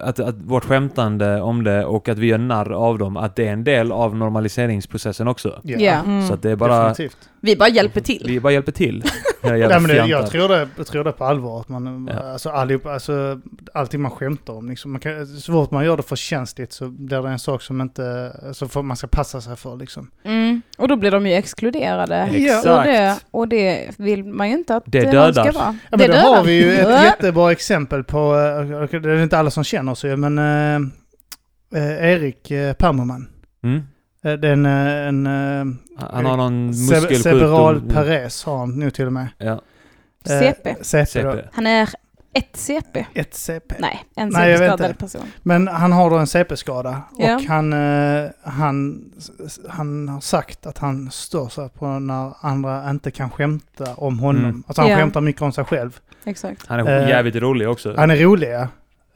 C: att, att vårt skämtande om det och att vi gör narr av dem, att det är en del av normaliseringsprocessen också.
D: Ja,
B: Ja.
C: Så att det är bara...
D: Mm. Definitivt.
E: Mm. Vi bara hjälper till.
C: Vi bara hjälper till. Jag,
D: Nej, men det, jag, tror det, jag tror det på allvar. Att man,
C: Ja.
D: alltså, allihop, alltså, allting man skämtar om. Liksom, man kan, så fort man gör det för känsligt så blir det en sak som inte, så får, man ska passa sig för. Liksom.
B: Mm. Och då blir de ju exkluderade.
C: Exakt.
B: Och det, och det vill man ju inte att
C: Det
B: någon
C: dödar.
B: ska vara.
D: Ja, men
B: det
D: då
B: dödar.
D: har vi ju ett
B: Ja.
D: jättebra exempel på, eh, det är inte alla som känner oss ju, men eh, eh, Erik eh, Permerman.
C: Mm.
D: Eh, Det är en, eh, en eh,
C: Han har någon
D: cere- cerebral
C: muskelsjukdom. Mm.
D: pares har han nu till och med.
C: Ja,
D: Eh,
B: CP.
D: CP. då.
C: CP.
B: Han är ett CP.
D: Ett CP.
B: Nej, en
D: Nej, jag vet
B: CP-skadad
D: inte.
B: person.
D: Men han har då en CP-skada
B: Ja.
D: och han, eh, han, han har sagt att han stör sig på när andra inte kan skämta om honom.
C: Mm.
D: Alltså han
B: Ja.
D: skämtar mycket om sig själv.
B: Exakt.
C: Han är
D: Eh,
C: jävligt rolig också.
D: Han är rolig ja.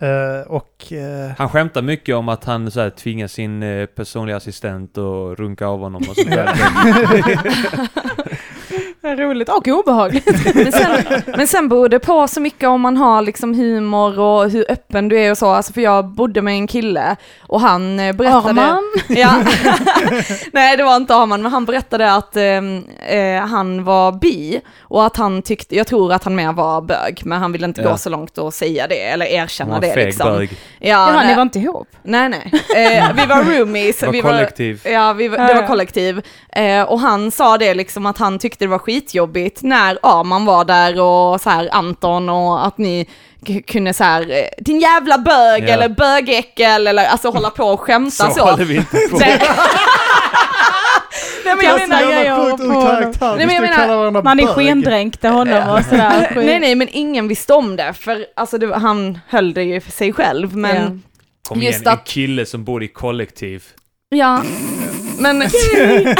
D: Eh, och eh,
C: Han skämtar mycket om att han så här, tvingar sin eh, personliga assistent att runka av honom och sånt där.
B: Roligt och obehagligt.
E: Men sen, men sen beror det på så mycket om man har liksom humor och hur öppen du är och så. Alltså för jag bodde med en kille och han eh, berättade...
B: Arman.
E: Ja. Nej, det var inte Arman, men han berättade att ehm, eh, han var bi och att han tyckte, jag tror att han mer var bög, men han ville inte
C: Ja.
E: gå så långt och säga det eller
C: Han
E: erkänna
C: var
E: det
C: feg
E: liksom.
C: bög.
E: Ja,
B: Jaha,
E: nej,
B: ni var inte ihop?
E: nej, nej. Eh, vi var roomies.
C: Var
E: vi var,
C: kollektiv.
E: Ja, vi, var-
B: Ja,
E: det
B: ja.
E: var kollektiv. Eh, och han sa det liksom att han tyckte det var skitjobbigt när Arman var där och så här Anton och att ni k- kunde så här, eh, din jävla bög
C: Ja.
E: eller bögäckel eller alltså hålla på och skämta så.
C: Så håller vi inte på.
E: Nej. Nej men jag
D: Kastar
E: menar,
B: jag
D: gärna
B: gör
D: punkt
B: på
D: ur
B: honom.
D: karaktär.
E: Nej, men
D: Vi ska
E: jag menar,
D: kalla varandra
B: Man är
D: bög.
B: skendränkte honom och sådär.
E: nej nej men ingen visste om det för alltså det, han höll det ju för sig själv men
C: Kom igen,
E: Just
C: en
E: att-
C: kille som bor i kollektiv.
E: ja. Men, nej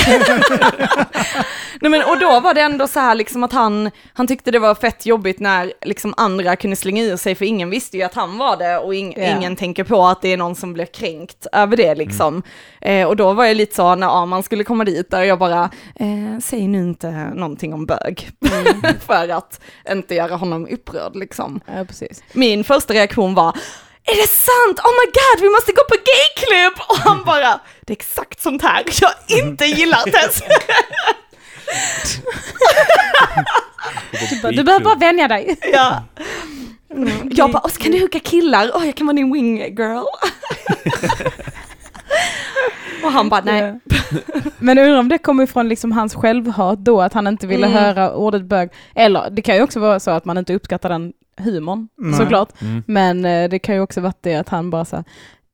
E: men och då var det ändå så här liksom att han, han tyckte det var fett jobbigt när liksom andra kunde slänga ur sig för ingen visste ju att han var det och ing,
B: Ja.
E: ingen tänker på att det är någon som blev kränkt över det liksom. Eh, och då var jag lite så när Arman skulle komma dit där jag bara, eh, säg nu inte någonting om bög för att inte göra honom upprörd liksom.
B: Ja, precis.
E: Min första reaktion var är det sant? Oh my god, vi måste gå på gayklubb! Och han bara, det är exakt sånt här jag inte gillar Tess.
B: Du behöver bara vänja dig.
E: ja. Mm. Jag bara, och så kan du hugga killar, åh jag kan vara din wing girl. och han bara, nej.
B: Men undrar om det kommer ifrån liksom hans självhat då, att han inte ville
E: Mm.
B: höra ordet bög. Eller det kan ju också vara så att man inte uppskattar den humorn,
D: Nej.
B: såklart.
C: Mm.
B: Men eh, det kan ju också varit det att han bara så här,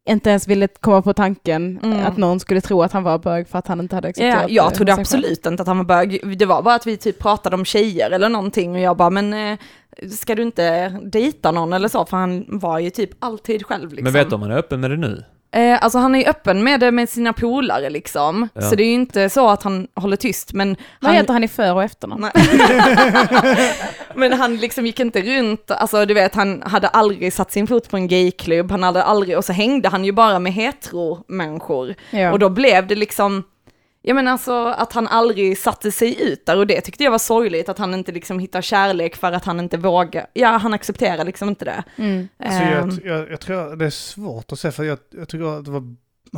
B: inte ens ville komma på tanken
E: Mm.
B: att någon skulle tro att han var bög för att han inte hade accepterat
E: Ja,
B: eh,
E: jag trodde
B: sig själv.
E: absolut inte att han var bög. Det var bara att vi typ pratade om tjejer eller någonting och jag bara, men eh, ska du inte dejta någon eller så? För han var ju typ alltid själv liksom.
C: Men vet du om han är öppen med det nu?
E: Eh, alltså han är ju öppen med det med sina polare liksom.
C: Ja.
E: Så det är ju inte så att han håller tyst. Men
B: Vad
E: han,
B: heter han i för och efternamn?
E: Nej. men han liksom gick inte runt, alltså du vet han hade aldrig satt sin fot på en gayklubb, han hade aldrig, och så hängde han ju bara med hetero-människor.
B: Ja.
E: Och då blev det liksom, jag menar alltså att han aldrig satte sig ut där och det tyckte jag var sorgligt att han inte liksom hittar kärlek för att han inte vågar, ja han accepterar liksom inte det.
B: Mm.
D: Alltså
E: Ehm,
D: jag, jag, jag tror att det är svårt att säga för jag, jag tycker att det var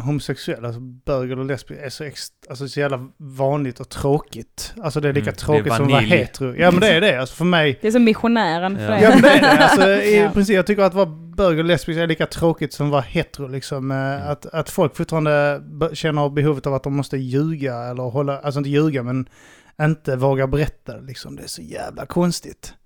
D: homosexuella, alltså böger och lesbiska, är så, ex, alltså så jävla vanligt och tråkigt. Alltså det är lika
C: Mm, det är
D: tråkigt som att vara
C: vanilj.
D: hetero. Ja men det är det, alltså för mig.
B: Det är som missionären för
C: Ja.
B: er.
D: Ja men det är det, alltså i
B: Ja.
D: princip. Jag tycker att vara böger och lesbisk är lika tråkigt som att vara hetero liksom. Eh,
C: Mm.
D: Att, att folk fortfarande b- känner behovet av att de måste ljuga eller hålla, alltså inte ljuga men inte våga berätta liksom. Det är så jävla konstigt.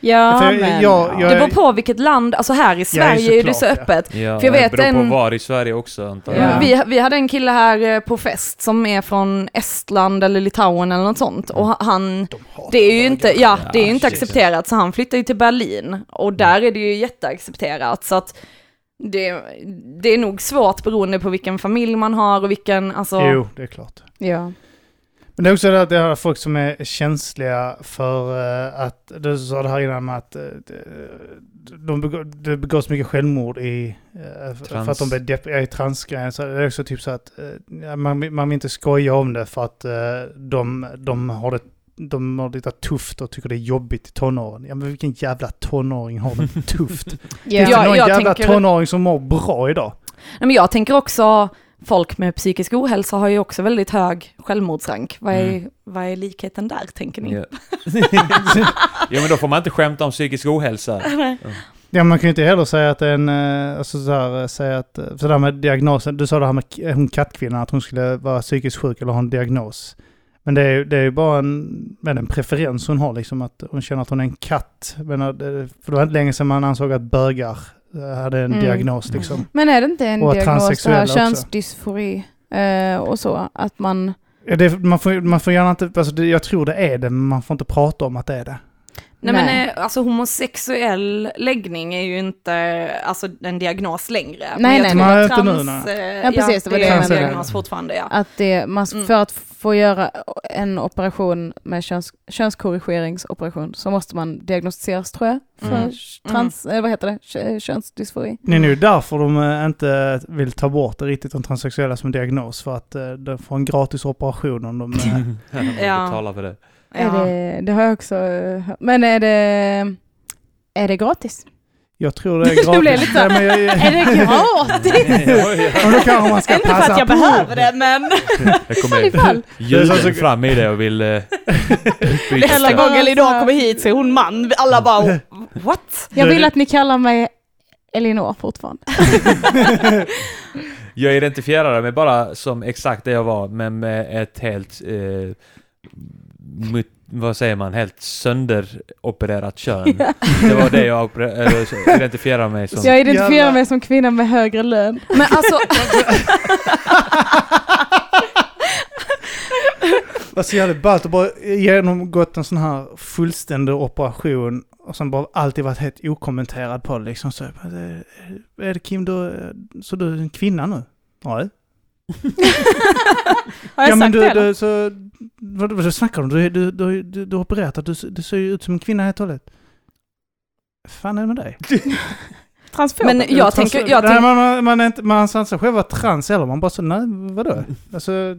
B: Ja,
D: För jag-
B: men,
D: jag- jag-
E: Det beror på vilket land, alltså här i Sverige är det så
D: såklart, ja.
E: öppet.
C: Ja,
E: För jag vet
C: det beror på
E: en-
C: var i Sverige också antar jag.
B: Ja.
E: Vi, vi hade en kille här eh, på fest som är från Estland eller Litauen eller något sånt och han,
D: De hatar
E: det är ju inte, ja, det är ju inte
C: shit.
E: accepterat så han flyttade ju till Berlin och där är det ju jätteaccepterat så att det, det är nog svårt beroende på vilken familj man har och vilken, alltså,
D: Jo, det är klart.
B: ja.
D: Men det är också det att det här är folk som är känsliga för eh, att, du sa det här innan med att eh, de begå, det begås mycket självmord i, eh, f-
C: Trans.
D: för att de blir depp, ja, i transgrejen. Så det är också typ så att eh, ja, man, vill- man vill inte skoja om det för att eh, de, de har det de har det lite tufft och tycker det är jobbigt i tonåren. Ja men vilken jävla tonåring har det tufft? Finns
B: Ja.
D: det
E: Ja,
D: någon
E: jag
D: jävla
E: tänker-
D: tonåring som mår bra idag?
E: Nej, men jag tänker också folk med psykisk ohälsa har ju också väldigt hög självmordsrank. Vad är, vad är likheten där tänker ni?
C: Ja. ja men då får man inte skämta om psykisk ohälsa.
D: Ja, man kan ju inte heller säga att en, eh, alltså så här, eh, säga att, eh, så där med diagnosen, du sa det här med k- hon kattkvinnan, att hon skulle vara psykiskt sjuk eller ha en diagnos. Men det är ju det är ju bara en, men en preferens hon har liksom, att hon känner att hon är en katt. Men, eh, det- för det var inte länge sedan man ansåg att bögar eh, hade en
B: Mm.
D: diagnos liksom.
B: Men är det inte en
D: Och
B: diagnos det
D: transsexuella
B: här
D: också.
B: könsdysfori? Eh, och så, att man...
D: Ja, Det, man, får, man får gärna inte, alltså det, jag tror det är det, men man får inte prata om att det är det.
E: Nej, men
B: Nej.
E: eh, alltså homosexuell läggning är ju inte alltså, en diagnos längre. Men
B: Nej,
E: jag
B: nej.
E: tror
D: Nej,
E: att
D: inte nu,
E: trans, eh, ja,
B: precis, det var det
E: är
D: jag
E: en
D: menade.
E: diagnos fortfarande ja.
B: Att det, man,
E: Mm.
B: För att få göra en operation med köns, könskorrigeringsoperation så måste man diagnostiseras tror jag. För
E: Mm.
B: trans, eh, vad heter det? Kö- Könsdysfori.
D: Det är nu därför de eh, inte vill ta bort det riktigt, de transsexuella som diagnos, för att eh, de får en gratis operation om de... eh,
E: Ja.
C: Betala för det.
E: Ja.
B: Är det, det har jag också eh, hört. Men är det, är det gratis?
D: Jag tror det är gratis.
B: blev lite så här,
D: Nej, men jag, jag,
B: Är det gratis?
D: men då kanske man ska
E: Inte för att
D: passa
E: jag
D: på.
E: behöver det, men
C: Jag
B: I
C: kommer
B: fall.
C: ljuden fram i det och vill eh,
E: nästa
B: Eller
C: byta.
E: gång
B: bara
E: Elidor
B: så här-
E: kommer hit så är hon man. Alla bara, what?
B: Jag vill att ni kallar mig Elinor fortfarande.
C: Jag identifierade mig bara som exakt det jag var, men med ett helt... Eh, mut, vad säger man? Helt sönderopererat kön. Det var det jag operer- eller, identifierade mig som.
B: Jag identifierar
D: Jävlar.
B: mig som kvinna med högre lön.
E: Men alltså,
D: Vad så jävla ballt att Alltså, bara genomgått en sån här fullständig operation och sen bara alltid varit helt okommenterad på det liksom. Så, jag bara, "Eh, är det Kim, du, eh, så du är en kvinna nu? Nej.
B: Har jag
D: ja, men
B: sagt
D: du,
B: det? eller?
D: du, så, vad, vad snackar du om? Du, du, du, du, du har opererat, du, du ser ju ut som en kvinna helt och hållet. fan är det med dig?
B: Transfob?
E: men jag
D: Trans-
E: tänker, jag
D: Nej,
E: tänker,
D: man, man, man, är inte, man anser inte sig själv vara trans eller man bara så, nej, vadå? Alltså,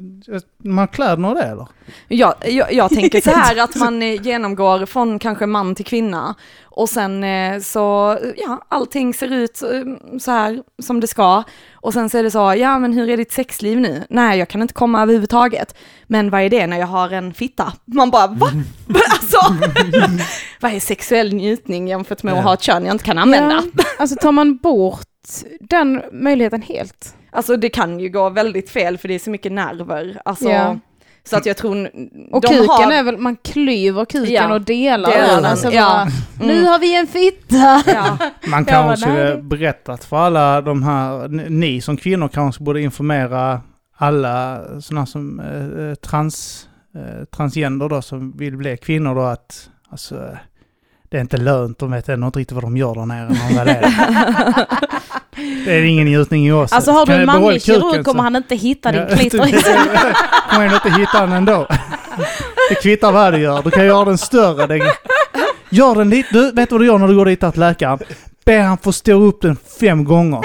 D: man har kläderna och det eller?
E: jag, jag, jag tänker så här att man eh, genomgår från kanske man till kvinna och sen eh, så, ja, allting ser ut eh, så här som det ska och sen så är det så, ja men hur är ditt sexliv nu? Nej, jag kan inte komma överhuvudtaget. Men vad är det när jag har en fitta? Man bara, va? Alltså, vad är sexuell njutning jämfört med att ha ett kön jag inte kan använda?
B: Ja, alltså tar man bort den möjligheten helt?
E: Alltså det kan ju gå väldigt fel för det är så mycket nerver. Alltså,
B: Ja.
E: Så att jag tror...
B: Och
E: de
B: kuken
E: har,
B: är väl, man klyver kuken
E: Ja,
B: och delar
E: delar
B: den.
E: den.
B: Alltså
E: Ja.
B: bara,
E: Mm.
B: Nu har vi en fitta!
E: Ja,
D: Man
B: Ja,
D: kanske
B: nej,
D: skulle
B: det-
D: berättat för alla de här, ni- ni som kvinnor kanske borde informera alla sådana som eh, eh, trans, eh, transgender då som vill bli kvinnor då att alltså, eh, det är inte lönt, de vet ändå inte riktigt vad de gör där nere när de väl är där. Det är ingen njutning i oss.
B: Alltså har du
D: Kan
B: en
D: jag behålla
B: manlig kirurg
D: kuken så-
B: kommer han inte hitta din
D: Ja,
B: klitoris.
D: kommer ändå inte hitta den ändå. Det kvittar vad du gör. Du kan göra den större. Den, gör den lite... Du, vet du vad du gör när du går dit till läkaren? Be han få stå upp den fem gånger.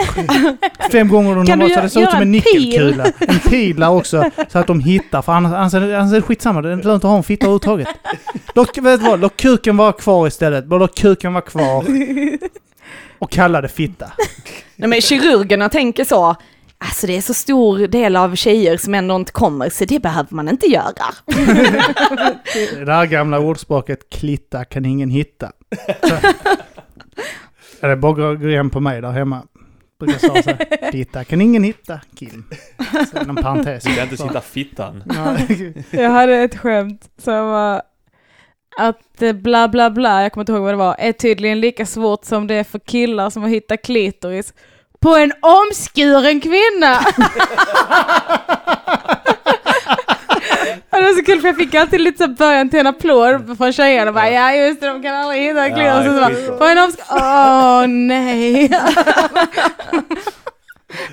D: Fem gånger under
B: Kan du
D: normalt, så
B: gö-
D: det ser ut
B: göra
D: som en
B: en
D: nickelkula. En pil där också, så att de hittar. För annars, annars, är det- annars är det skitsamma, det är inte lönt att ha en fitta överhuvudtaget. Låt, vet du vad, låt kuken vara kvar istället. Bara låt kuken vara kvar. Och kalla det fitta.
E: nej men kirurgerna tänker så. Alltså det är så stor del av tjejer som ändå inte kommer så det behöver man inte göra.
D: Det där gamla ordspråket klitta kan ingen hitta. Ja, det bara går igen på mig där hemma. Brukar säga så här, Titta kan ingen hitta, Kim. Så Inom parentes.
C: Du kan inte sitta fittan.
D: Nej.
B: Jag hade ett skämt som var att eh, bla bla bla, jag kommer inte ihåg vad det var, är tydligen lika svårt som det är för killar som har hittat klitoris på en omskuren kvinna. Och det var så kul för jag fick alltid lite så här början till en applåd från tjejerna. Bara, ja just det, de kan aldrig hitta
C: Ja,
B: klitoris. Och så
C: skit.
B: bara, på en omskuren... Åh nej.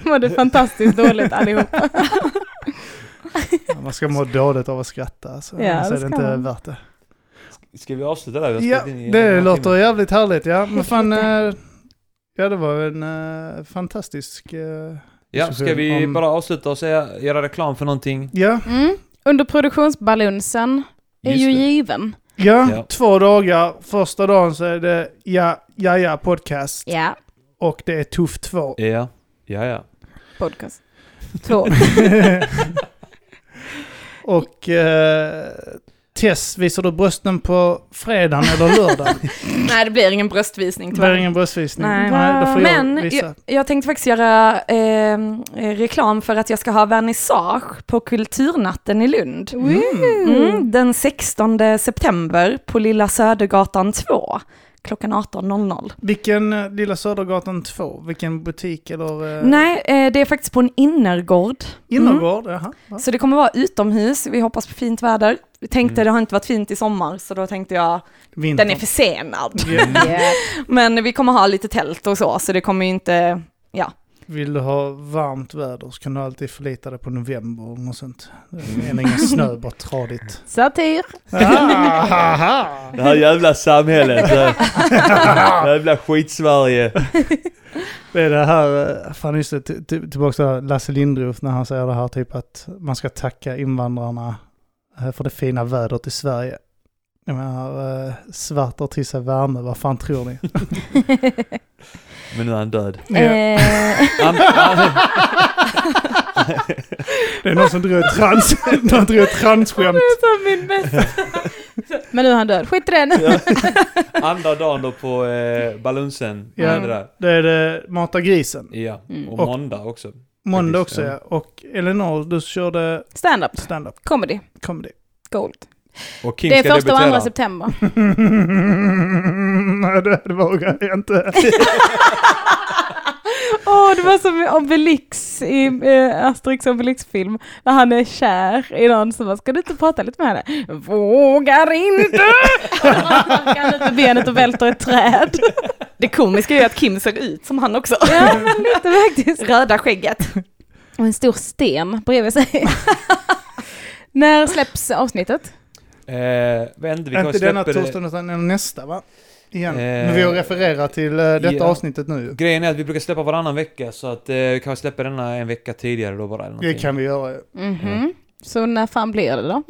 B: Mådde fantastiskt dåligt allihop.
D: Man ska må dåligt av att skratta. Så
B: Ja,
D: annars
B: det
D: är det
B: ska
D: inte
B: man.
D: värt det.
C: Ska vi avsluta där? Vi har
D: Ja,
C: spelat in i en
D: det
C: halvtimme.
D: låter jävligt härligt. Ja, men fan. eh, Ja, det var en eh, fantastisk... eh,
C: Ja, ska vi
D: Om-
C: bara avsluta och säga, göra reklam för någonting?
D: Ja,
B: Mm. Under produktionsbalunsen är
C: Just
B: ju
C: det.
B: given.
D: ja,
C: Ja.
D: två dagar. Första dagen så är det Ja, ja, ja podcast.
B: Ja,
D: Och det är Tuff 2.
C: Ja, ja, ja.
B: podcast. Två.
D: Och eh, Tess, visar du brösten på fredagen eller lördagen?
E: Nej det blir ingen bröstvisning
D: Det blir
E: tyvärr.
D: ingen bröstvisning.
E: Nej.
D: då får jag
E: Men
D: visa.
E: jag, jag tänkte faktiskt göra eh, eh, reklam för att jag ska ha vernissage på Kulturnatten i Lund.
D: Mm.
E: Mm, den 16 september på Lilla Södergatan 2 klockan 18.00.
D: Vilken eh, Lilla Södergatan 2? Vilken butik eller? eh,
E: Nej, Mm. eh, det är faktiskt på en innergård.
D: Innergård? Jaha. Ja.
E: Så det kommer vara utomhus, vi hoppas på fint väder. Vi tänkte, det har inte varit fint i sommar, så då tänkte jag,
D: Vinter.
E: den är försenad.
D: Ja.
E: Men vi kommer ha lite tält och så, så det kommer ju inte, ja.
D: Vill du ha varmt väder så kan du alltid förlita dig på november eller något sånt. Det är ingen snö, bara tradigt.
B: Satir!
D: Ahaha.
C: Det här jävla samhället. Det här jävla skitsverige.
D: Det är det här, eh, fan just det, till- till- tillbaka till det här Lasse Lindroth när han säger det här typ att man ska tacka invandrarna eh, för det fina vädret i Sverige. Jag menar, eh, svart drar till sig värme, vad fan tror ni?
C: Men nu är han död.
E: Eh,
C: Han, han,
D: Det är någon som drar ett trans, någon drar ett transskämt.
B: Som min bästa. Men nu är han död, skit i den!
C: ja. Andra dagen då på eh, Balunsen.
D: Ja.
C: Ja. Det där.
D: Det är det Mata grisen.
C: ja.
B: Mm.
C: Och
D: Och-
C: måndag också.
D: Måndag också
C: Ja.
D: ja. Och Elinor, du körde
B: Stand-up,
D: stand-up
B: comedy,
D: comedy.
B: gold.
C: Och Kim
B: Det är
C: ska
B: första och
C: debutera.
B: andra september.
D: Nej, det det vågar jag inte.
B: Åh, det var som i Obelix i eh, Asterix och Obelix-film. När han är kär i någon som bara, ska du inte prata lite med henne? Vågar inte! Kan inte benet och välter ett träd.
E: det komiska är ju att Kim ser ut som han också.
B: Ja, men lite faktiskt.
E: Röda skägget.
B: Och en stor sten bredvid sig. När släpps avsnittet?
C: Eh, vet inte, vi kommer
D: inte denna
C: släppa det.
D: torsdagen utan nästa va? Igen.
C: Eh,
D: Men vi har refererat till eh, detta
C: ja.
D: avsnittet nu ju.
C: Grejen är att vi brukar släppa varannan vecka så att eh, vi kanske släpper denna en vecka tidigare då bara. Eller
D: Det
C: någonting.
D: kan vi göra ju.
B: Mhm. Så när fan blir det då?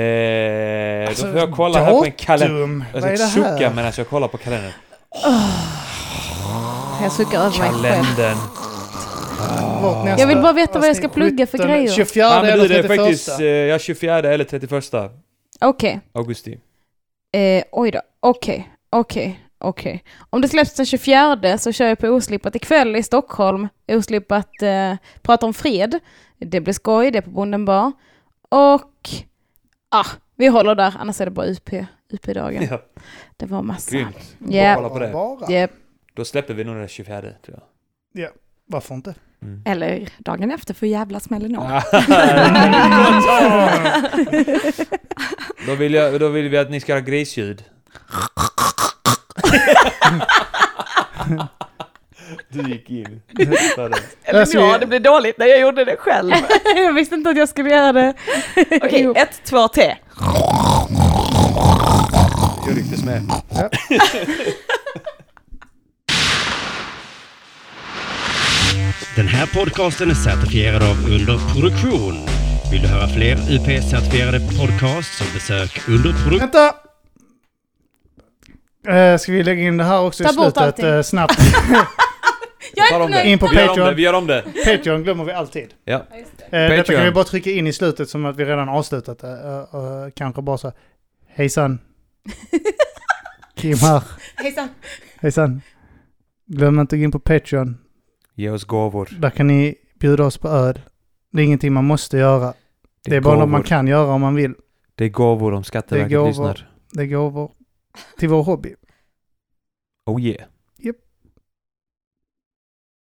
C: Eh,
D: Alltså,
C: då får jag kolla här på en kalender.
D: Datum.
C: Jag
D: Vad
C: ska
D: är det
C: sucka
D: här?
C: medan jag kollar på kalendern.
B: Jag suckar över mig själv.
C: Kalendern.
D: Vårt nästa
B: Jag vill bara veta vad jag ska
D: avsnitt,
B: plugga för
D: 17,
B: grejer.
D: 24
C: Ja, men du,
D: eller
C: det
D: 31.
C: är faktiskt eh, ja, 24 eller 31
B: Okej.
C: augusti.
B: Eh, oj då. Okej. Okej. Okej. Om det släpps den 24 så kör jag på Oslippat ikväll i Stockholm. Oslippat eh, pratar om fred. Det blir skoj. Det är på Bonden bar. Och... Ah, vi håller där. Annars är det bara UP. UP-dagen.
C: Ja,
B: Det var massa.
C: grymt.
B: Ja.
C: eh, Kolla på det.
D: Bara.
B: Japp.
C: Då släpper vi nog den 24 tror jag.
D: Varför inte?
E: Eller dagen efter för jävla smäller någon.
C: då, vill jag, då vill vi att ni ska ha grisljud. du gick in.
D: Alltså, vi-
E: blev dåligt när jag gjorde det själv.
B: jag visste inte att jag skulle göra det.
E: Okej,
B: Jo.
E: ett, två, tre.
C: Jag rycktes med.
A: Den här podcasten är certifierad av Underproduktion. Vill du höra fler UP-certifierade podcasts så besök underproduktion
D: Vänta! Eh, ska vi lägga in det här också i
B: Ta bort
D: slutet
B: allting.
D: eh, snabbt?
B: Jag
C: Tar om det.
D: In på
C: Vi gör om det,
D: Patreon.
C: vi gör om det.
D: Patreon glömmer vi alltid.
C: Ja.
D: Eh, detta
C: Patreon.
D: kan vi bara trycka in i slutet som att vi redan avslutat det. Eh, och, eh, kanske bara så Hejsan. Kim här.
B: Hejsan.
D: Hejsan. Glöm inte att gå in på Patreon.
C: Ge oss gåvor.
D: Där kan ni bjuda oss på öl. Det är ingenting man måste göra. Det är bara något man kan göra om man vill.
C: Det är gåvor om
D: Det är
C: Skatteverket
D: gåvor.
C: lyssnar.
D: Det är gåvor till vår hobby.
C: Oh yeah.
D: Japp.